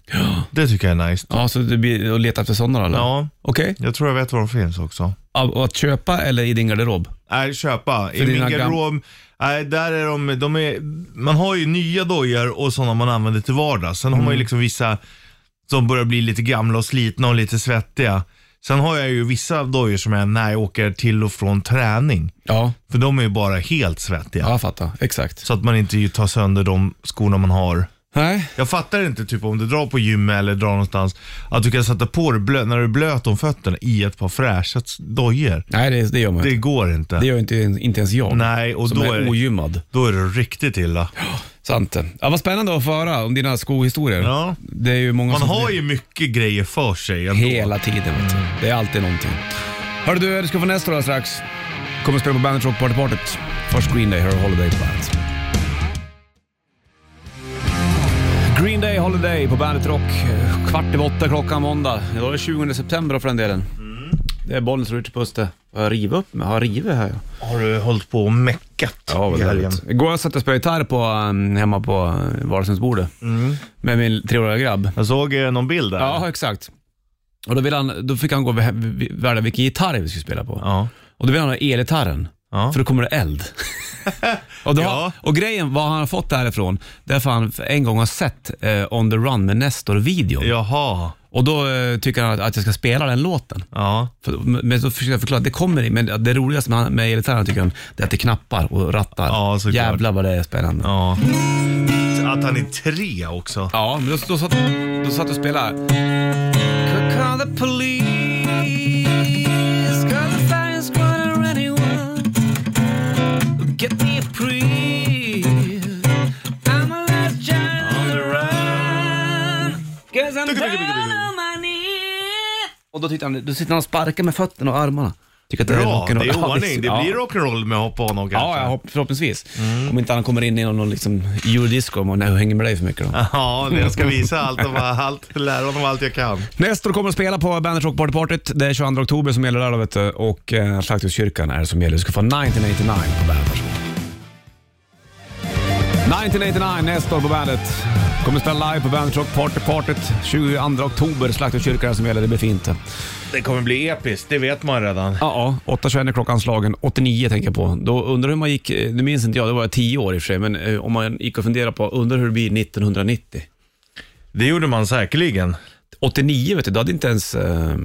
[SPEAKER 3] Det tycker jag är nice.
[SPEAKER 2] Mm, Ja, så du blir och leta efter sådana eller?
[SPEAKER 3] Ja,
[SPEAKER 2] Okej.
[SPEAKER 3] jag tror jag vet var de finns också.
[SPEAKER 2] Av- och Att köpa eller i din garderob?
[SPEAKER 3] Nej, köpa. I
[SPEAKER 2] För
[SPEAKER 3] min
[SPEAKER 2] dina gam-
[SPEAKER 3] garderob, nej, där är de, de är, man har ju nya dojor och sådana man använder till vardags. Sen har
[SPEAKER 2] Mm.
[SPEAKER 3] man ju liksom vissa som börjar bli lite gamla och slitna och lite svettiga. Sen har jag ju vissa dojor som är när jag åker till och från träning.
[SPEAKER 2] Ja,
[SPEAKER 3] För de är ju bara helt svettiga.
[SPEAKER 2] ja jag fattar. Exakt.
[SPEAKER 3] Så att man inte ju tar sönder de skorna man har.
[SPEAKER 2] Nej,
[SPEAKER 3] Jag fattar inte typ om du drar på gymmet eller drar någonstans, att du kan sätta på dig blö- när du är blöt om fötterna i ett par fräscha dojor.
[SPEAKER 2] Nej det, det gör man
[SPEAKER 3] Det
[SPEAKER 2] inte.
[SPEAKER 3] går inte.
[SPEAKER 2] Det gör inte, inte ens jag.
[SPEAKER 3] Nej, och
[SPEAKER 2] som
[SPEAKER 3] då
[SPEAKER 2] är,
[SPEAKER 3] är det-
[SPEAKER 2] ogymmad.
[SPEAKER 3] Då är det riktigt illa.
[SPEAKER 2] Sant det. Ja, vad spännande att få höra om dina skohistorier.
[SPEAKER 3] Ja.
[SPEAKER 2] Det är ju många
[SPEAKER 3] Man
[SPEAKER 2] som...
[SPEAKER 3] har Mm. ju mycket grejer för sig ändå.
[SPEAKER 2] Hela tiden vet du. Det är alltid någonting. Hörru du, du ska få nästa då strax. Kommer spela på Bandet Rock Party Partyt. Först Green Day, hör Holiday på bandet. Green Day Holiday på Bandet Rock. Kvart över åtta klockan måndag. Idag är det 20 september då för den delen.
[SPEAKER 3] Mm.
[SPEAKER 2] Det är Bollnäs och Richard Puste. Har jag rivit upp mig? Har jag rivit här ja.
[SPEAKER 3] Har du hållit på och meckat i helgen?
[SPEAKER 2] Igår satt jag och spelade gitarr på, um, hemma på eh, vardagsrumsbordet.
[SPEAKER 3] Mm.
[SPEAKER 2] Med min treåriga grabb.
[SPEAKER 3] Jag såg eh, någon bild där.
[SPEAKER 2] Ja, exakt. Och då, ville han, då fick han gå och vä- vä- välja vilken gitarr vi skulle spela på.
[SPEAKER 3] Ja.
[SPEAKER 2] Och då vill han ha elgitarren.
[SPEAKER 3] Ja.
[SPEAKER 2] För då kommer det eld. och, då,
[SPEAKER 3] Ja.
[SPEAKER 2] och grejen, vad han har fått därifrån, det är för han en gång har sett eh, On the Run med Nestor-videon.
[SPEAKER 3] Jaha.
[SPEAKER 2] Och då eh, tycker han att, att jag ska spela den låten.
[SPEAKER 3] Ja.
[SPEAKER 2] För, men så försöker jag förklara, det kommer i- men det roligaste med, med elgitarren tycker han, det är att det knappar och rattar.
[SPEAKER 3] Ja, såklart.
[SPEAKER 2] Jävlar vad det är spännande.
[SPEAKER 3] ja. Att han är tre också.
[SPEAKER 2] Ja, men då, då, satt, då satt du och spelade. Could call the police, call the fire squad or anyone. Get me a priest. I'm a last child on the run. Guess I'm down on my knees. Och då, tittar han, då sitter han och sparkar med fötterna och armarna. Tycker att det
[SPEAKER 3] Bra, det
[SPEAKER 2] rock'n'roll.
[SPEAKER 3] är
[SPEAKER 2] Ja,
[SPEAKER 3] ordning.
[SPEAKER 2] visst.
[SPEAKER 3] Det
[SPEAKER 2] Ja.
[SPEAKER 3] blir alltså. Mm. rock'n'roll med hopp och honom kanske.
[SPEAKER 2] Ja, jag hopp, förhoppningsvis. Om inte han kommer in i någon liksom, eurodisco och hänger med dig för mycket då.
[SPEAKER 3] Ja, det jag ska visa allt och allt, lära honom allt jag kan.
[SPEAKER 2] Nestor kommer att spela på Bandit Rock Party Partyt. Det är 22 oktober som gäller där då, vet du. Och eh, Slaktuskyrkan är det som gäller. Du ska få 1989 på bandet. 1989, Nestor på bandet. Kommer spela live på Bandet Rock Party Partyt 22 oktober. Slakterkyrkan som gäller, det blir fint.
[SPEAKER 3] Det kommer bli episkt, det vet man redan.
[SPEAKER 2] Ja, ja. 8.21 är klockan slagen. 89 tänker jag på. Då undrar hur man gick, eh, det minns inte jag, det var jag 10 år i och för sig, men eh, om man gick och funderade på, undrar hur det blir 1990.
[SPEAKER 3] Det gjorde man säkerligen.
[SPEAKER 2] 89 vet du, då hade inte ens eh,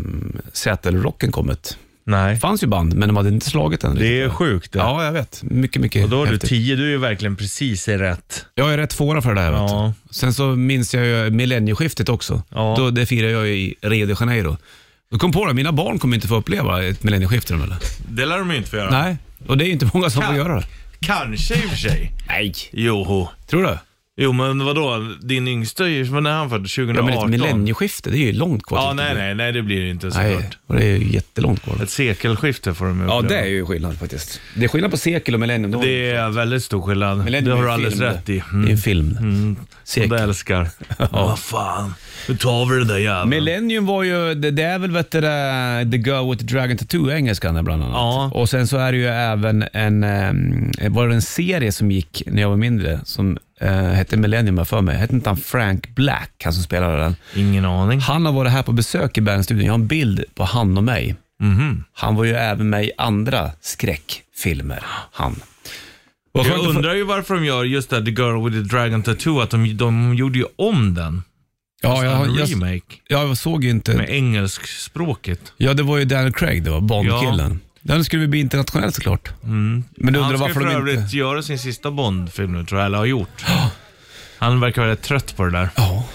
[SPEAKER 2] Seattle-rocken kommit.
[SPEAKER 3] Nej.
[SPEAKER 2] Det fanns ju band, men de hade inte slagit den.
[SPEAKER 3] Det är sjukt det.
[SPEAKER 2] Ja, jag vet. Mycket, mycket
[SPEAKER 3] Och då är du
[SPEAKER 2] häftigt.
[SPEAKER 3] tio, du är ju verkligen precis i rätt.
[SPEAKER 2] Jag är rätt fåra för det där. Vet du.
[SPEAKER 3] Ja.
[SPEAKER 2] Sen så minns jag ju millennieskiftet också.
[SPEAKER 3] Ja.
[SPEAKER 2] Då, det firade jag i Rio de Janeiro. Då kom på det, mina barn kommer inte få uppleva ett millennieskifte. de, Eller?
[SPEAKER 3] Det lär de ju inte få göra.
[SPEAKER 2] Nej, och det är ju inte många som får göra det.
[SPEAKER 3] Kanske i och för sig.
[SPEAKER 2] Nej.
[SPEAKER 3] Joho.
[SPEAKER 2] Tror du?
[SPEAKER 3] Jo men vadå, din yngsta, är ju- men när är han född? 2018?
[SPEAKER 2] Ja, men ett millennieskifte, det är ju långt kvar.
[SPEAKER 3] Ja,
[SPEAKER 2] till-
[SPEAKER 3] nej, nej, nej, det blir det inte
[SPEAKER 2] Nej,
[SPEAKER 3] såklart.
[SPEAKER 2] och det är ju jättelångt kvar.
[SPEAKER 3] Ett sekelskifte får de ju
[SPEAKER 2] Ja,
[SPEAKER 3] uppleva.
[SPEAKER 2] det är ju skillnad faktiskt. Det är skillnad på sekel och millennium. Det,
[SPEAKER 3] Det är väldigt stor skillnad.
[SPEAKER 2] millennium
[SPEAKER 3] Det
[SPEAKER 2] är
[SPEAKER 3] har
[SPEAKER 2] ju
[SPEAKER 3] du alldeles
[SPEAKER 2] film,
[SPEAKER 3] rätt i. Mm.
[SPEAKER 2] Det är en film. Sekel.
[SPEAKER 3] Det älskar. Vad fan, nu tar vi det där jäveln.
[SPEAKER 2] Millennium var ju, det, det är väl vet du, det, The Girl with the Dragon Tattoo, engelskan där bland annat.
[SPEAKER 3] Ja.
[SPEAKER 2] Och sen så är det ju även en, eh, var det en serie som gick när jag var mindre som eh, hette Millennium har jag för mig. Hette inte han Frank Black, han som spelade den?
[SPEAKER 3] Ingen aning.
[SPEAKER 2] Han har varit här på besök i Bandstudion. Jag har en bild på han och mig.
[SPEAKER 3] Mhm.
[SPEAKER 2] Han var ju även med i andra skräckfilmer, han. Och
[SPEAKER 3] Jag undrar ju varför de gör just det här, The Girl with the Dragon Tattoo, att de, de gjorde ju om den. Alltså,
[SPEAKER 2] ja, jag,
[SPEAKER 3] en
[SPEAKER 2] jag, jag,
[SPEAKER 3] remake.
[SPEAKER 2] jag såg ju inte...
[SPEAKER 3] Med engelskspråket.
[SPEAKER 2] Ja, det var ju Daniel Craig det var, Bondkillen. Den skulle väl bli internationell såklart. Men du
[SPEAKER 3] Mm.
[SPEAKER 2] undrar
[SPEAKER 3] Han ska ju
[SPEAKER 2] varför
[SPEAKER 3] för
[SPEAKER 2] de inte...
[SPEAKER 3] övrigt göra sin sista Bond-film nu tror jag, eller har gjort. Han verkar vara rätt trött på det där.
[SPEAKER 2] Ja.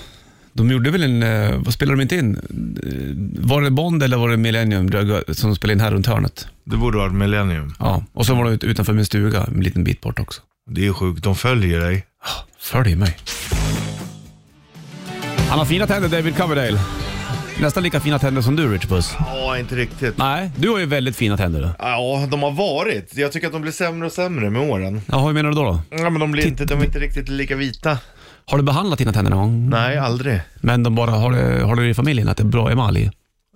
[SPEAKER 2] De gjorde väl en, eh, vad spelade de inte in? Eh, Var det Bond eller var det Millennium Drag- som spelade in här runt hörnet?
[SPEAKER 3] Det borde varit Millennium.
[SPEAKER 2] Ja, och så var de ut- utanför min stuga en liten bit bort också.
[SPEAKER 3] Det är ju sjukt, de följer dig.
[SPEAKER 2] Följ mig. Han har fina tänder David Coverdale. Nästan lika fina tänder som du Rich Puss.
[SPEAKER 3] Ja, inte riktigt.
[SPEAKER 2] Nej, du har ju väldigt fina tänder du.
[SPEAKER 3] Ja, de har varit. Jag tycker att de blir sämre och sämre med åren.
[SPEAKER 2] Jaha, hur menar du då? då?
[SPEAKER 3] Ja, men de, blir inte, de är inte riktigt lika vita.
[SPEAKER 2] Har du behandlat dina tänder någon gång?
[SPEAKER 3] Nej, aldrig.
[SPEAKER 2] Men de bara, har du, har du det i familjen att det är bra emalj?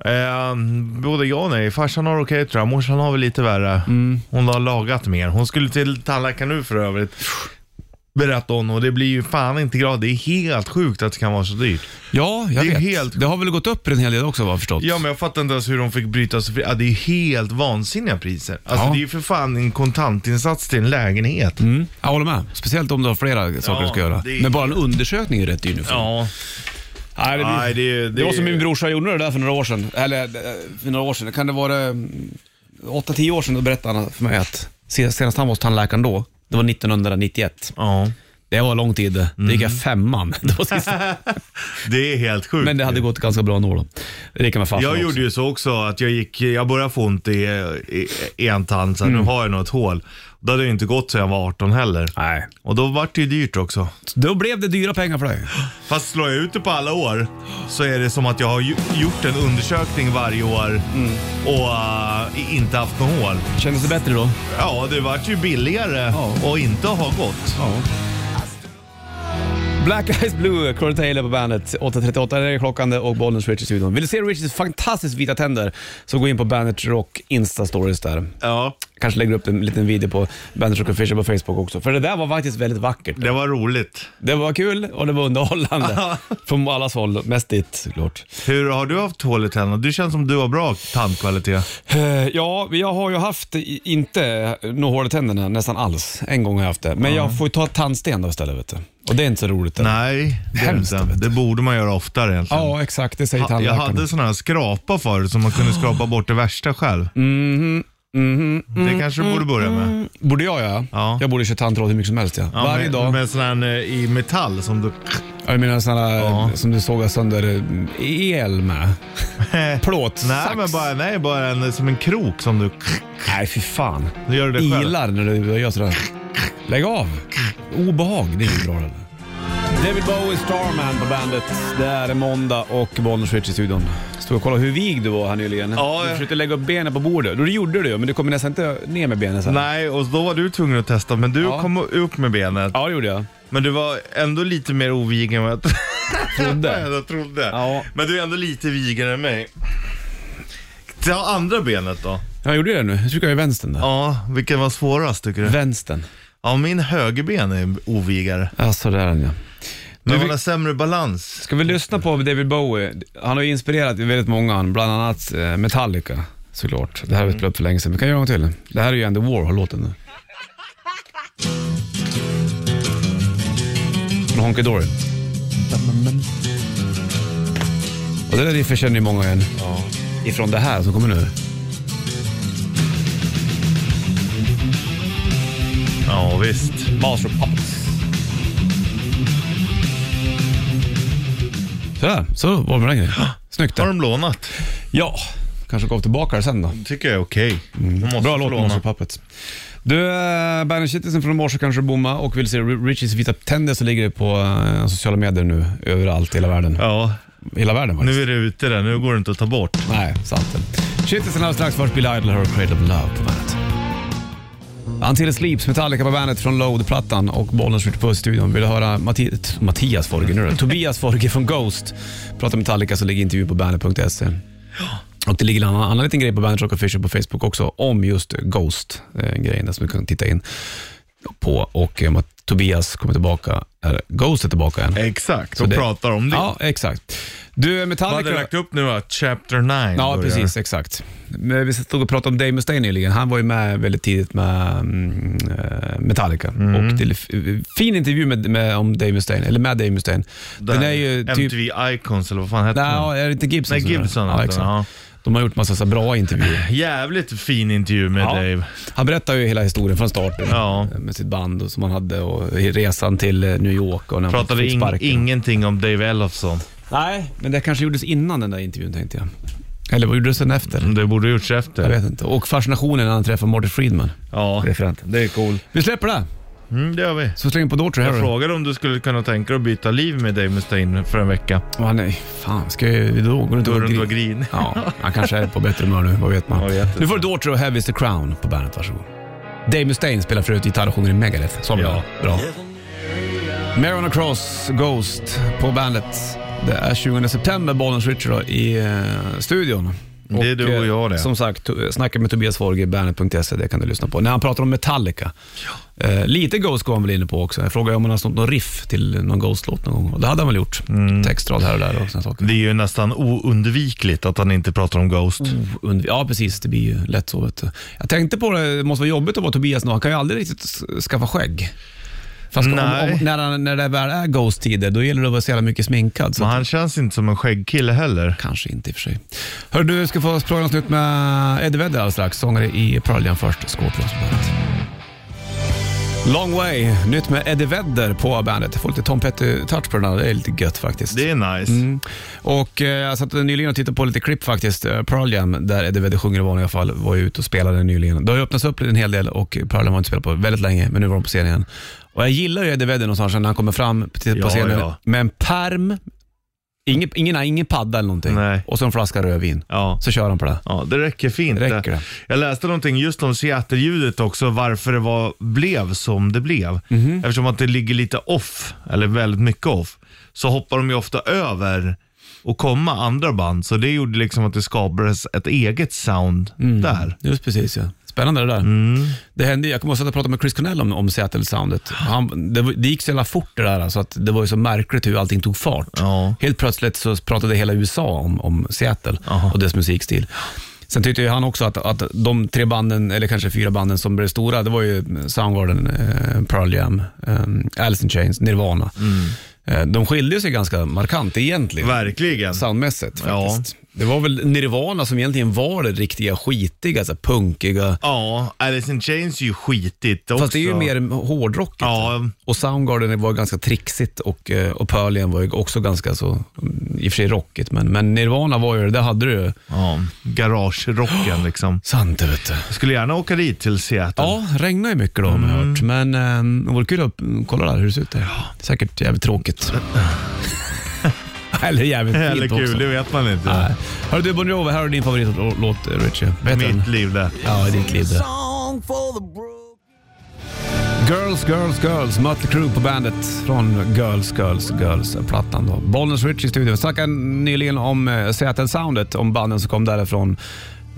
[SPEAKER 3] Eh, både jag och nej. Farsan har okej tror jag. Morsan har väl lite värre.
[SPEAKER 2] Mm.
[SPEAKER 3] Hon har lagat mer. Hon skulle till tandläkaren nu för övrigt. Berättade hon och det blir ju fan inte gratis. Det är helt sjukt att det kan vara så dyrt.
[SPEAKER 2] Ja, jag
[SPEAKER 3] Det är
[SPEAKER 2] vet.
[SPEAKER 3] helt-
[SPEAKER 2] Det har väl gått upp en hel del också vad jag har förstått?
[SPEAKER 3] Ja men jag fattar inte ens hur de fick bryta sig fri. Ja, det är ju helt vansinniga priser. Alltså
[SPEAKER 2] Ja.
[SPEAKER 3] det är ju för fan en kontantinsats till en lägenhet.
[SPEAKER 2] Mm. Jag håller med. Speciellt om du har flera saker
[SPEAKER 3] Ja,
[SPEAKER 2] du ska göra.
[SPEAKER 3] det är-
[SPEAKER 2] Men bara en undersökning är rätt dyr nu. för-
[SPEAKER 3] Ja.
[SPEAKER 2] Nej, det, blir...
[SPEAKER 3] Nej, det är-
[SPEAKER 2] det,
[SPEAKER 3] det
[SPEAKER 2] var
[SPEAKER 3] är-
[SPEAKER 2] som min brorsa gjorde det där för några år sedan. Eller eh, för några år sedan. Kan det vara eh, 8-10 år sedan? Då berättade han för mig att se- senast han var hos tandläkaren då, det var 1991.
[SPEAKER 3] Ja.
[SPEAKER 2] Det var lång tid. Det gick
[SPEAKER 3] Mm.
[SPEAKER 2] jag femman. Det var sista.
[SPEAKER 3] Det är helt sjukt.
[SPEAKER 2] Men det hade gått ganska bra ändå. Då. Det gick med farsan
[SPEAKER 3] Jag
[SPEAKER 2] också.
[SPEAKER 3] gjorde ju så också att jag gick, jag började få ont i, i, i en tand, så här,
[SPEAKER 2] Mm.
[SPEAKER 3] nu har jag nog ett hål. Då hade jag inte gått sedan jag var 18 heller.
[SPEAKER 2] Nej.
[SPEAKER 3] Och då vart det ju dyrt också.
[SPEAKER 2] Då blev det dyra pengar för dig.
[SPEAKER 3] Fast slår jag ut det på alla år så är det som att jag har ju, gjort en undersökning varje år
[SPEAKER 2] Mm.
[SPEAKER 3] och äh, inte haft något hål.
[SPEAKER 2] Kändes det bättre då?
[SPEAKER 3] Ja, det vart ju billigare
[SPEAKER 2] Ja.
[SPEAKER 3] och inte ha gått.
[SPEAKER 2] Black Eyes Blue, Corey Taylor på bandet. 8.38 är det klockan och Bollnäs Rich i studion. Vill du se Richies fantastiskt vita tänder så gå in på Bandet Rock Insta-stories där.
[SPEAKER 3] Ja,
[SPEAKER 2] Kanske lägger upp en liten video på Bandet Rock Official på Facebook också. För det där var faktiskt väldigt vackert.
[SPEAKER 3] det var roligt.
[SPEAKER 2] Det var kul och det var underhållande. Från allas håll, mest ditt såklart.
[SPEAKER 3] Hur har du haft hål i tänderna? Du känns som du har bra tandkvalitet.
[SPEAKER 2] Eh, Ja, jag har ju haft i- inte något hål i tänderna nästan alls. En gång har jag haft det. Men jag får ju ta tandsten då istället vet du. Och det är inte så roligt. det.
[SPEAKER 3] Nej, det, är
[SPEAKER 2] Hemskt,
[SPEAKER 3] inte.
[SPEAKER 2] vet du.
[SPEAKER 3] det borde man göra oftare egentligen.
[SPEAKER 2] Ja, exakt. Det säger
[SPEAKER 3] Ha- Jag
[SPEAKER 2] tandläkaren.
[SPEAKER 3] hade sådana här skrapa förut som man kunde skrapa bort det värsta själv.
[SPEAKER 2] Mm-hmm.
[SPEAKER 3] det kanske du borde börja med.
[SPEAKER 2] Borde jag ja.
[SPEAKER 3] Ja.
[SPEAKER 2] Jag borde köra tandtråd hur mycket som helst ja.
[SPEAKER 3] Ja,
[SPEAKER 2] Varje
[SPEAKER 3] med,
[SPEAKER 2] dag.
[SPEAKER 3] Med sån här eh, i metall som du...
[SPEAKER 2] Ja, Jag menar sådana
[SPEAKER 3] Ja.
[SPEAKER 2] som du sågar sönder eh, el med. Plåt,
[SPEAKER 3] Nej,
[SPEAKER 2] sax.
[SPEAKER 3] men bara, nej, bara en, eh, som en krok som du...
[SPEAKER 2] Nej fy fan.
[SPEAKER 3] Du gör det själv.
[SPEAKER 2] Ilar när du gör sådär. Lägg av. Obehag, det är ju bra det David Bowie, Starman på bandet. Det är måndag och Bollnäs Rich i studion. Stod och kollade hur vig du var här nyligen.
[SPEAKER 3] Ja,
[SPEAKER 2] du
[SPEAKER 3] ja.
[SPEAKER 2] försökte lägga upp benen på bordet. Då det gjorde du ju, men du kommer nästan inte ner med benen sen.
[SPEAKER 3] Nej, och då var du tvungen att testa, men du
[SPEAKER 2] Ja.
[SPEAKER 3] kom upp med benet.
[SPEAKER 2] Ja, det gjorde jag.
[SPEAKER 3] Men du var ändå lite mer ovig än vad jag
[SPEAKER 2] Trodde.
[SPEAKER 3] jag trodde.
[SPEAKER 2] Ja.
[SPEAKER 3] Men du är ändå lite vigare än mig. Ta andra benet då.
[SPEAKER 2] Jag gjorde det nu. Jag trycker jag i vänstern där.
[SPEAKER 3] Ja, vilken var svårast tycker du?
[SPEAKER 2] Vänstern.
[SPEAKER 3] Ja, min högerben är ovigare.
[SPEAKER 2] Ja, så där är den ja.
[SPEAKER 3] Men
[SPEAKER 2] Du,
[SPEAKER 3] man
[SPEAKER 2] vi-
[SPEAKER 3] har sämre balans.
[SPEAKER 2] ska vi lyssna på David Bowie? Han har ju inspirerat väldigt många, bland annat eh, Metallica såklart. Det här har vi spelat upp för länge sedan, vi kan göra en gång till. Det här är ju Andy Warhol-låten nu. Från Honky Dory. Och det där riffet känner ju många igen. Ifrån det här som kommer nu.
[SPEAKER 3] Ja, visst.
[SPEAKER 2] Master of Puppets. Sådär, så var det med den grejen. Snyggt
[SPEAKER 3] Har
[SPEAKER 2] där.
[SPEAKER 3] de lånat?
[SPEAKER 2] Ja, kanske går tillbaka det sen då.
[SPEAKER 3] tycker jag är okej. De måste
[SPEAKER 2] Bra
[SPEAKER 3] få
[SPEAKER 2] låt,
[SPEAKER 3] låna.
[SPEAKER 2] Master of Puppets. Du, eh, Bandet Kittelsen från morse kanske bomma och vill se Ri- Richies vita tänder så ligger det på eh, sociala medier nu överallt i hela världen.
[SPEAKER 3] Ja,
[SPEAKER 2] Hela världen faktiskt.
[SPEAKER 3] nu är det ute där. Nu går det inte att ta bort.
[SPEAKER 2] Nej, sant det. Kittelsen alldeles strax. Först Bill Idol och Cradle of Love på bandet. Until It Sleeps, Metallica på bandet från Load-plattan och Bollnäs skjuter på i studion. Vill du höra Matti t- Mattias Forge nu då? Tobias Forge från Ghost. Pratar Metallica så ligger intervjun på bandet.se. Och det ligger en annan, annan liten grej på Bandet Rock Official på Facebook också om just Ghost-grejen där som du kan titta in på. Och eh, Matt- Tobias kommer tillbaka, är Ghost är tillbaka än.
[SPEAKER 3] Exakt,
[SPEAKER 2] Så
[SPEAKER 3] och
[SPEAKER 2] det-
[SPEAKER 3] pratar om det.
[SPEAKER 2] Ja, exakt. Du,
[SPEAKER 3] Man
[SPEAKER 2] Metallica...
[SPEAKER 3] hade lagt upp nu att Chapter 9
[SPEAKER 2] Ja,
[SPEAKER 3] börjar.
[SPEAKER 2] precis. Exakt. Men vi stod och pratade om Dave Mustaine nyligen. Han var ju med väldigt tidigt med mm, eh, Metallica.
[SPEAKER 3] Mm.
[SPEAKER 2] Och det, fin intervju med, med, om Dave Mustaine, eller med Dave Mustaine.
[SPEAKER 3] Där,
[SPEAKER 2] Den är ju typ...
[SPEAKER 3] MTV Icons eller vad fan hette
[SPEAKER 2] Nej,
[SPEAKER 3] den?
[SPEAKER 2] ja, är det inte Gibson?
[SPEAKER 3] Nej,
[SPEAKER 2] som gör det?
[SPEAKER 3] Gibson
[SPEAKER 2] ja,
[SPEAKER 3] hette
[SPEAKER 2] exakt.
[SPEAKER 3] den, ja.
[SPEAKER 2] De har gjort massa så här bra intervjuer.
[SPEAKER 3] Jävligt fin intervju med
[SPEAKER 2] Ja.
[SPEAKER 3] Dave.
[SPEAKER 2] Han berättar ju hela historien från starten
[SPEAKER 3] Ja.
[SPEAKER 2] eh, med sitt band och, som han hade och i resan till eh, New York och när han
[SPEAKER 3] Pratade
[SPEAKER 2] fick
[SPEAKER 3] in,
[SPEAKER 2] sparken.
[SPEAKER 3] ingenting om Dave Ellefson.
[SPEAKER 2] Nej, men det kanske gjordes innan den där intervjun tänkte jag. Eller vad gjordes den efter?
[SPEAKER 3] Det borde gjorts efter.
[SPEAKER 2] Jag vet inte. Och fascinationen när han träffar Marty Friedman.
[SPEAKER 3] Ja,
[SPEAKER 2] Referenten.
[SPEAKER 3] det är cool.
[SPEAKER 2] Vi släpper det.
[SPEAKER 3] Mm, det gör vi.
[SPEAKER 2] Så släng på Daughtry
[SPEAKER 3] Jag
[SPEAKER 2] här då.
[SPEAKER 3] frågade om du skulle kunna tänka dig att byta liv med Dave Mustaine för en vecka.
[SPEAKER 2] Ja, nej, fan. Ska jag, då går det inte
[SPEAKER 3] Då
[SPEAKER 2] att
[SPEAKER 3] du inte
[SPEAKER 2] gri-
[SPEAKER 3] var grinig.
[SPEAKER 2] Ja, han kanske är på bättre humör nu. Vad vet man?
[SPEAKER 3] Jag vet inte.
[SPEAKER 2] nu får du Daughtry och Heavy is the Crown på bandet. Varsågod. Dave Mustaine spelar förut gitarr och sjunger i Megadeth. Som
[SPEAKER 3] Ja.
[SPEAKER 2] ja. Bra. Marion Across, Ghost på bandet. Det är 20 september, Bollens Richard då, i eh, studion.
[SPEAKER 3] Det är du och jag det.
[SPEAKER 2] eh, Som sagt, to- snacka med Tobias Forge, bandet.se, E, det kan du lyssna på. När han pratar om Metallica. Eh, lite Ghost går han väl inne på också. Jag frågade om han har snott någon riff till någon Ghost-låt någon gång. Och det hade han väl gjort. Textrad här och där och såna saker.
[SPEAKER 3] Mm. Det är ju nästan oundvikligt att han inte pratar om Ghost.
[SPEAKER 2] Und- Ja, precis. Det blir ju lätt så. Vet du. Jag tänkte på det, det måste vara jobbigt att vara Tobias nu. Han kan ju aldrig riktigt s- skaffa skägg. Fast om,
[SPEAKER 3] Nej.
[SPEAKER 2] om, när, han- när det väl är ghost-tider, då gäller det att vara så jävla mycket sminkad. Så
[SPEAKER 3] Men
[SPEAKER 2] att-
[SPEAKER 3] han känns inte som en skäggkille heller.
[SPEAKER 2] kanske inte i och för sig. Hör du, ska få prata något nytt med Eddie Vedder alldeles strax. Sångare i Pearl Jam först, Scorpions på bandet. Long way, nytt med Eddie Vedder på bandet. Jag får lite Tom Petty-touch på den här. Det är lite gött faktiskt.
[SPEAKER 3] Det är nice.
[SPEAKER 2] Och eh, jag satt nyligen och tittade på lite klipp faktiskt. Eh, Pearl Jam, där Eddie Vedder sjunger i vanliga fall, var ju ute och spelade nyligen. Det har ju öppnats upp en hel del och Pearl Jam har inte spelat på väldigt länge, men nu var de på scen igen. Och jag gillar ju Eddie Vedder någonstans när han kommer fram till- på
[SPEAKER 3] Ja,
[SPEAKER 2] scenen
[SPEAKER 3] ja.
[SPEAKER 2] med en perm, ingen, ingen, ingen padda eller någonting,
[SPEAKER 3] Nej.
[SPEAKER 2] och så en flaska rödvin.
[SPEAKER 3] Ja.
[SPEAKER 2] Så kör han på det.
[SPEAKER 3] Ja, det räcker fint.
[SPEAKER 2] Räcker det?
[SPEAKER 3] Jag läste någonting just om Seattle-ljudet också, varför det var, blev som det blev.
[SPEAKER 2] Mhm.
[SPEAKER 3] Eftersom att det ligger lite off, eller väldigt mycket off, så hoppar de ju ofta över och komma andra band. Så det gjorde liksom att det skapades ett eget sound
[SPEAKER 2] Mm.
[SPEAKER 3] där.
[SPEAKER 2] Just precis ja. Spännande det där. Det hände, ju- jag kommer ihåg att jag pratade med Chris Cornell om, om Seattle-soundet. Han- Det, var- det gick så jävla fort det där, så att det var ju så märkligt hur allting tog fart.
[SPEAKER 3] Ja.
[SPEAKER 2] Helt plötsligt så pratade hela USA om, om Seattle och dess musikstil. Sen tyckte ju han också att, att de tre banden, eller kanske fyra banden som blev stora, det var ju Soundgarden, eh, Pearl Jam, eh, Alice in Chains, Nirvana. Eh, de skilde sig ganska markant egentligen
[SPEAKER 3] Verkligen.
[SPEAKER 2] soundmässigt
[SPEAKER 3] Ja.
[SPEAKER 2] faktiskt. Det var väl Nirvana som egentligen var det riktiga skitiga, så här punkiga.
[SPEAKER 3] Ja, Alice in Chains är ju skitigt också.
[SPEAKER 2] Fast det är ju mer hårdrockigt.
[SPEAKER 3] Ja.
[SPEAKER 2] Och Soundgarden var ganska trixigt och, eh, och Pearl Jam var ju också ganska så, mm, i och för sig rockigt, men, men Nirvana var ju det, där hade du ju.
[SPEAKER 3] Ja, garagerocken liksom.
[SPEAKER 2] Sant det vet du.
[SPEAKER 3] Jag skulle gärna åka dit till Seattle.
[SPEAKER 2] Ja, regnar ju mycket då har man
[SPEAKER 3] Mm.
[SPEAKER 2] hört, men eh, det vore kul att mm, kolla där hur det ser ut där. Säkert jävligt tråkigt. Eller jävligt fint
[SPEAKER 3] Eller kul,
[SPEAKER 2] också.
[SPEAKER 3] det vet man inte.
[SPEAKER 2] Nej. Hörru du, Bon Jovi, här är din favoritlåt, Richie. Vad heter den?
[SPEAKER 3] Mitt liv det.
[SPEAKER 2] Ja, i ditt liv det. Girls, Girls, Girls. Mötley Crüe på bandet från Girls, Girls, Girls-plattan. då. Bollnäs Rich i studion. Vi snackade nyligen om eh, Seattle-soundet, om banden som kom därifrån.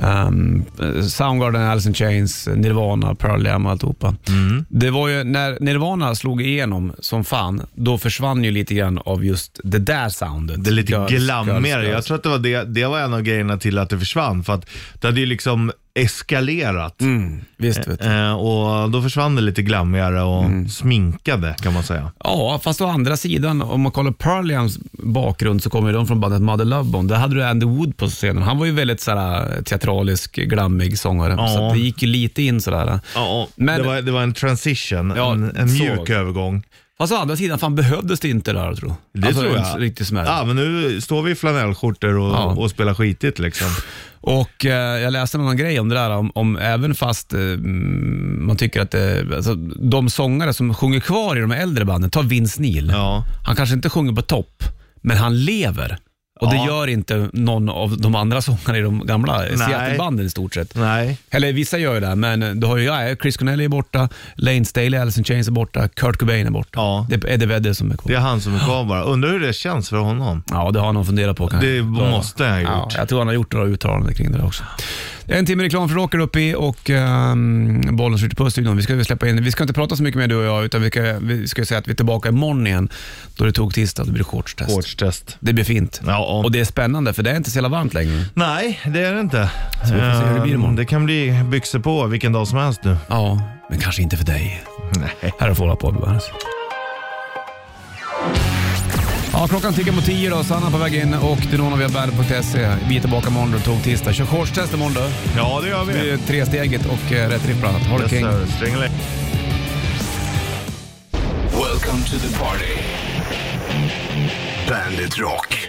[SPEAKER 2] Ehm, Soundgarden, Alice in Chains, Nirvana, Pearl Jam och alltihopa.
[SPEAKER 3] Mm.
[SPEAKER 2] Det var ju när Nirvana slog igenom som fan, då försvann ju lite grann av just det där soundet.
[SPEAKER 3] Det är lite
[SPEAKER 2] Girls,
[SPEAKER 3] glammigare.
[SPEAKER 2] girls,
[SPEAKER 3] Jag
[SPEAKER 2] girls.
[SPEAKER 3] tror att det var, det, det var en av grejerna till att det försvann. För att det hade ju liksom eskalerat.
[SPEAKER 2] Mm, visst vet du.
[SPEAKER 3] Eh, och då försvann det lite glammigare och
[SPEAKER 2] Mm.
[SPEAKER 3] sminkade kan man säga.
[SPEAKER 2] Ja, fast å andra sidan, om man kollar Pearl Jams bakgrund så kommer ju de från bandet Mother Love Bone. Där hade du Andy Wood på scenen. Han var ju väldigt sådär, teatralisk, glammig sångare. Så
[SPEAKER 3] Ja.
[SPEAKER 2] att det gick ju lite in sådär.
[SPEAKER 3] Ja,
[SPEAKER 2] Men-
[SPEAKER 3] det, var, det var en transition,
[SPEAKER 2] Ja,
[SPEAKER 3] en, en
[SPEAKER 2] så.
[SPEAKER 3] mjuk övergång.
[SPEAKER 2] Fast å andra sidan, fan behövdes det inte där tror Alltså,
[SPEAKER 3] Det tror jag.
[SPEAKER 2] en riktig smäll.
[SPEAKER 3] Ja, men nu står vi i flanellskjortor och,
[SPEAKER 2] Ja.
[SPEAKER 3] och spelar skitigt liksom.
[SPEAKER 2] Och eh, jag läste en annan grej om det där, om, om även fast eh, mm, man tycker att eh, alltså, de sångare som sjunger kvar i de äldre banden, ta Vince Neil.
[SPEAKER 3] Ja.
[SPEAKER 2] Han kanske inte sjunger på topp, men han lever. Och det
[SPEAKER 3] Ja.
[SPEAKER 2] gör inte någon av de andra sångarna i de gamla
[SPEAKER 3] Nej.
[SPEAKER 2] Seattle-banden i stort sett.
[SPEAKER 3] Nej.
[SPEAKER 2] Eller vissa gör ju det, men du har ju ja, Chris Cornell är borta, Lane Staley, Alice in Chains är borta, Kurt Cobain är borta.
[SPEAKER 3] Ja.
[SPEAKER 2] Det är Eddie Vedder som är kvar.
[SPEAKER 3] Det är han som är kvar bara. Undrar hur det känns för honom.
[SPEAKER 2] Ja, det har någon funderat på kanske.
[SPEAKER 3] Det måste han ha
[SPEAKER 2] Ja,
[SPEAKER 3] gjort.
[SPEAKER 2] jag tror han har gjort några uttalanden kring det där också. Det är en timme reklam för Rocker uppe i och um, bollen skjuter på studion. Vi ska ju släppa in, vi ska inte prata så mycket med du och jag, utan vi ska, vi ska ju säga att vi är tillbaka imorgon igen. Då det tog tisdag, då blir det shortstest.
[SPEAKER 3] Shortstest.
[SPEAKER 2] Det blir fint.
[SPEAKER 3] Ja, och-
[SPEAKER 2] Och det är spännande, för det är inte så jävla varmt längre.
[SPEAKER 3] Nej, det är det inte.
[SPEAKER 2] vi får se hur det blir
[SPEAKER 3] Eh,
[SPEAKER 2] imorgon.
[SPEAKER 3] det kan bli byxor på vilken dag som helst nu.
[SPEAKER 2] Ja, men kanske inte för dig.
[SPEAKER 3] Nej.
[SPEAKER 2] Här har Fålla på Bandet. Ja, klockan tickar mot tio då. Sanna på väg in och Dinona via bandet.se. Vi är tillbaka imorgon, då tog tisdag. Kör shortstest imorgon då.
[SPEAKER 3] Ja, det gör
[SPEAKER 2] Det
[SPEAKER 3] vi.
[SPEAKER 2] blir tresteget och eh, rätt riff bland annat. Ha det king.
[SPEAKER 3] Stränglägg.
[SPEAKER 1] Welcome to the party. Bandit Rock.